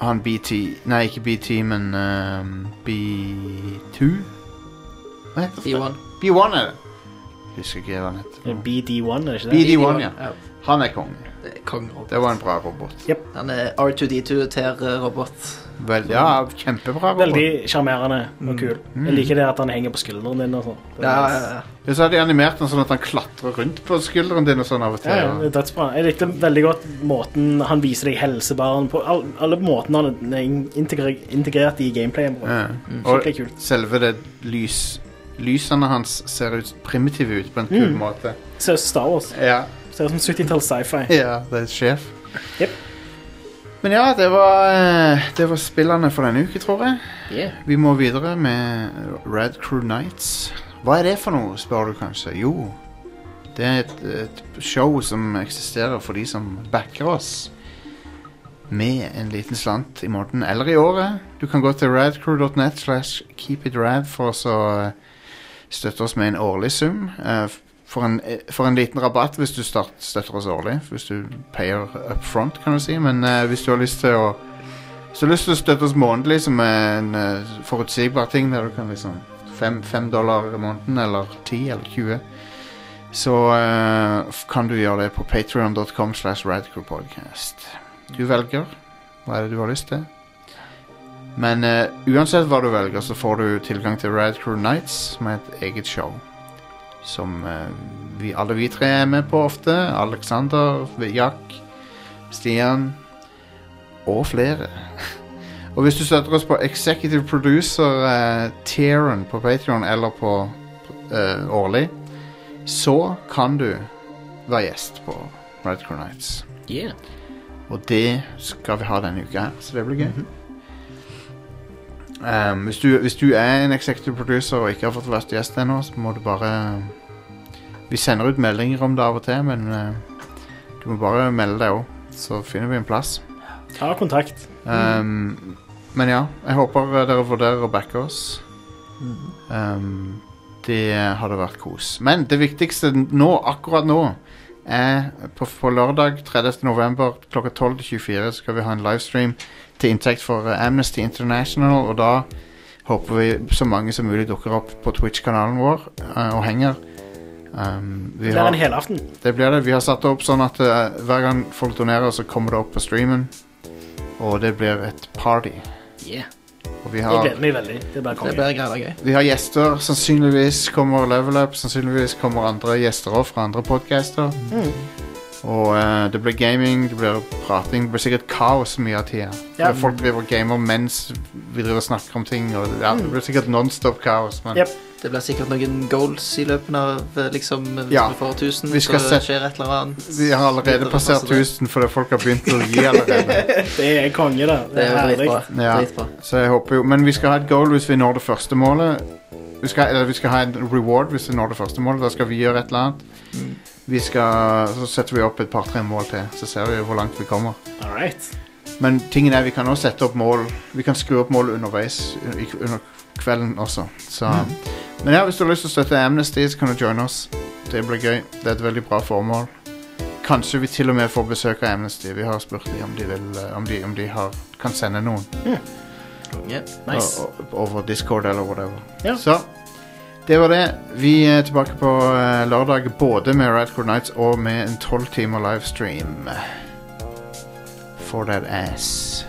Speaker 2: Han BT Nei, ikke BT, men ehm, B2? Hva heter det?
Speaker 4: B1.
Speaker 2: B1 er det. Husker ikke hva han heter.
Speaker 3: BD1, er det ikke det?
Speaker 2: BD1, ja. Han er konge.
Speaker 4: Det er Kongerobot.
Speaker 2: Det var en bra robot.
Speaker 4: Han er R2D2-ter-robot.
Speaker 2: Vel, ja, kjempebra robot.
Speaker 3: Veldig sjarmerende og kul. Jeg liker det at han henger på skulderen din og sånn. Det er
Speaker 4: Ja, ja,
Speaker 3: nice.
Speaker 4: ja.
Speaker 2: Ja, så har de animert den sånn at han klatrer rundt på skulderen din og sånn av og
Speaker 3: Ja,
Speaker 2: til.
Speaker 3: ja, det
Speaker 2: og-
Speaker 3: er dødsbra. Jeg likte veldig godt måten han viser deg helsebaren på. All, alle måtene han er in- integre- integrert i gameplayen på.
Speaker 2: Ja. Og
Speaker 3: Skikkelig kult.
Speaker 2: selve det lys... Lysene hans ser ut primitive ut på en
Speaker 3: Mm.
Speaker 2: kul måte.
Speaker 3: Ser ut som Star Wars.
Speaker 2: Ja,
Speaker 3: Ser ut som 70-talls sci-fi.
Speaker 2: ja, det er sjef.
Speaker 3: Jep.
Speaker 2: Men ja, det var, eh, det var spillene for denne uke, tror jeg. Vi må videre med Red Crew Nights. Hva er det for noe, spør du kanskje? Jo, det er et, et show som eksisterer for de som backer oss. Med en liten slant i måneden eller i året. Du kan gå til radcrew.net slash keepitrad for å så, eh, støtte oss med en årlig sum. eh, f- For en, eh, for en liten rabatt hvis du start, støtter oss årlig. Hvis du payer up front, kan du si. Men eh, hvis du har lyst til å så har du lyst til å støtte oss månedlig som er en eh, forutsigbar ting, der du kan liksom fem, fem dollar i måneden, eller ti, eller 20, så eh, f- kan du gjøre det på patreon.com slash radicalpodcast. Du velger hva er det du har lyst til. Men eh, uansett hva du velger, så får du tilgang til Radcrew Nights, som er et eget show. Som eh, vi, alle vi tre er med på ofte. Alexander, Jack, Stian og flere. Og hvis du støtter oss på Executive Producer eh, tieren på Patreon eller på eh, årlig, så kan du være gjest på Red Crew Nights.
Speaker 3: Yeah.
Speaker 2: Og det skal vi ha denne uka her, så det blir gøy. um, hvis, du, hvis du er en executive producer og ikke har fått vært gjest ennå, så må du bare Vi sender ut meldinger om det av og til, men eh, du må bare melde deg òg, så finner vi en plass.
Speaker 3: Ta kontakt.
Speaker 2: Um, men ja, jeg håper dere vurderer å backe oss. Um, det hadde vært kos. Men det viktigste nå, akkurat nå, er på, på lørdag 30. november klokka 12 til 24 skal vi ha en livestream til inntekt for eh, Amnesty International, og da håper vi så mange som mulig dukker opp på Twitch-kanalen vår eh, og henger. Um, vi
Speaker 3: Det er en helaften.
Speaker 2: det blir det. Vi har satt det opp sånn at eh, hver gang folk donerer, så kommer det opp på streamen. Og det blir et party.
Speaker 3: Yeah.
Speaker 2: Og vi
Speaker 3: Jeg
Speaker 2: har,
Speaker 3: gleder meg veldig. Det blir
Speaker 4: Det
Speaker 3: konge.
Speaker 4: blir greier gøy.
Speaker 2: vi har gjester. Sannsynligvis kommer Level Up. Sannsynligvis kommer andre gjester òg fra andre podcaster.
Speaker 3: Mm.
Speaker 2: Og eh, det blir gaming, det blir prating. Det blir sikkert kaos mye av tida.
Speaker 3: Ja.
Speaker 2: For Folk driver og gamer mens vi driver og snakker om ting. Og, ja, det blir sikkert nonstop kaos. Men
Speaker 3: Mm. Yep.
Speaker 4: Det blir sikkert noen goals i løpet av eh, liksom, Hvis
Speaker 2: Ja.
Speaker 4: vi får 1000,
Speaker 2: Vi skal
Speaker 4: så
Speaker 2: sette-
Speaker 4: skjer et eller annet.
Speaker 2: vi har allerede
Speaker 4: Videre
Speaker 2: passert
Speaker 4: masse der.
Speaker 2: 1000 fordi folk har begynt å gi allerede.
Speaker 3: Det er konge, da.
Speaker 4: Det er jo
Speaker 3: herlig.
Speaker 4: dritbra.
Speaker 2: Ja.
Speaker 4: dritbra.
Speaker 2: Så jeg håper jo Men vi skal ha et goal hvis vi når det første målet. Vi skal, eller vi skal ha en reward hvis vi når det første målet. Da skal vi gjøre et eller annet. Vi skal, så setter vi opp et par-tre mål til, så ser vi hvor langt vi kommer.
Speaker 3: Alright.
Speaker 2: Men tingen er, vi kan også sette opp mål Vi kan skru opp mål underveis i, under kvelden også. Så. Men ja, hvis du har lyst til å støtte Amnesty, så kan du joine oss. Det blir gøy. Det er et veldig bra formål. Kanskje vi til og med får besøk av Amnesty. Vi har spurt dem om de, vil, eh, om de, om de har, kan sende noen
Speaker 4: Ja.
Speaker 3: Nice.
Speaker 2: o- o- over Discord eller whatever.
Speaker 3: Ja.
Speaker 2: Så det var det. Vi er tilbake på eh, lørdag både med Radcore Nights og med en tolv timer livestream. For that ass.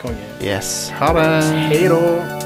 Speaker 3: Konge.
Speaker 2: Yes. Ha det.
Speaker 3: Hei da.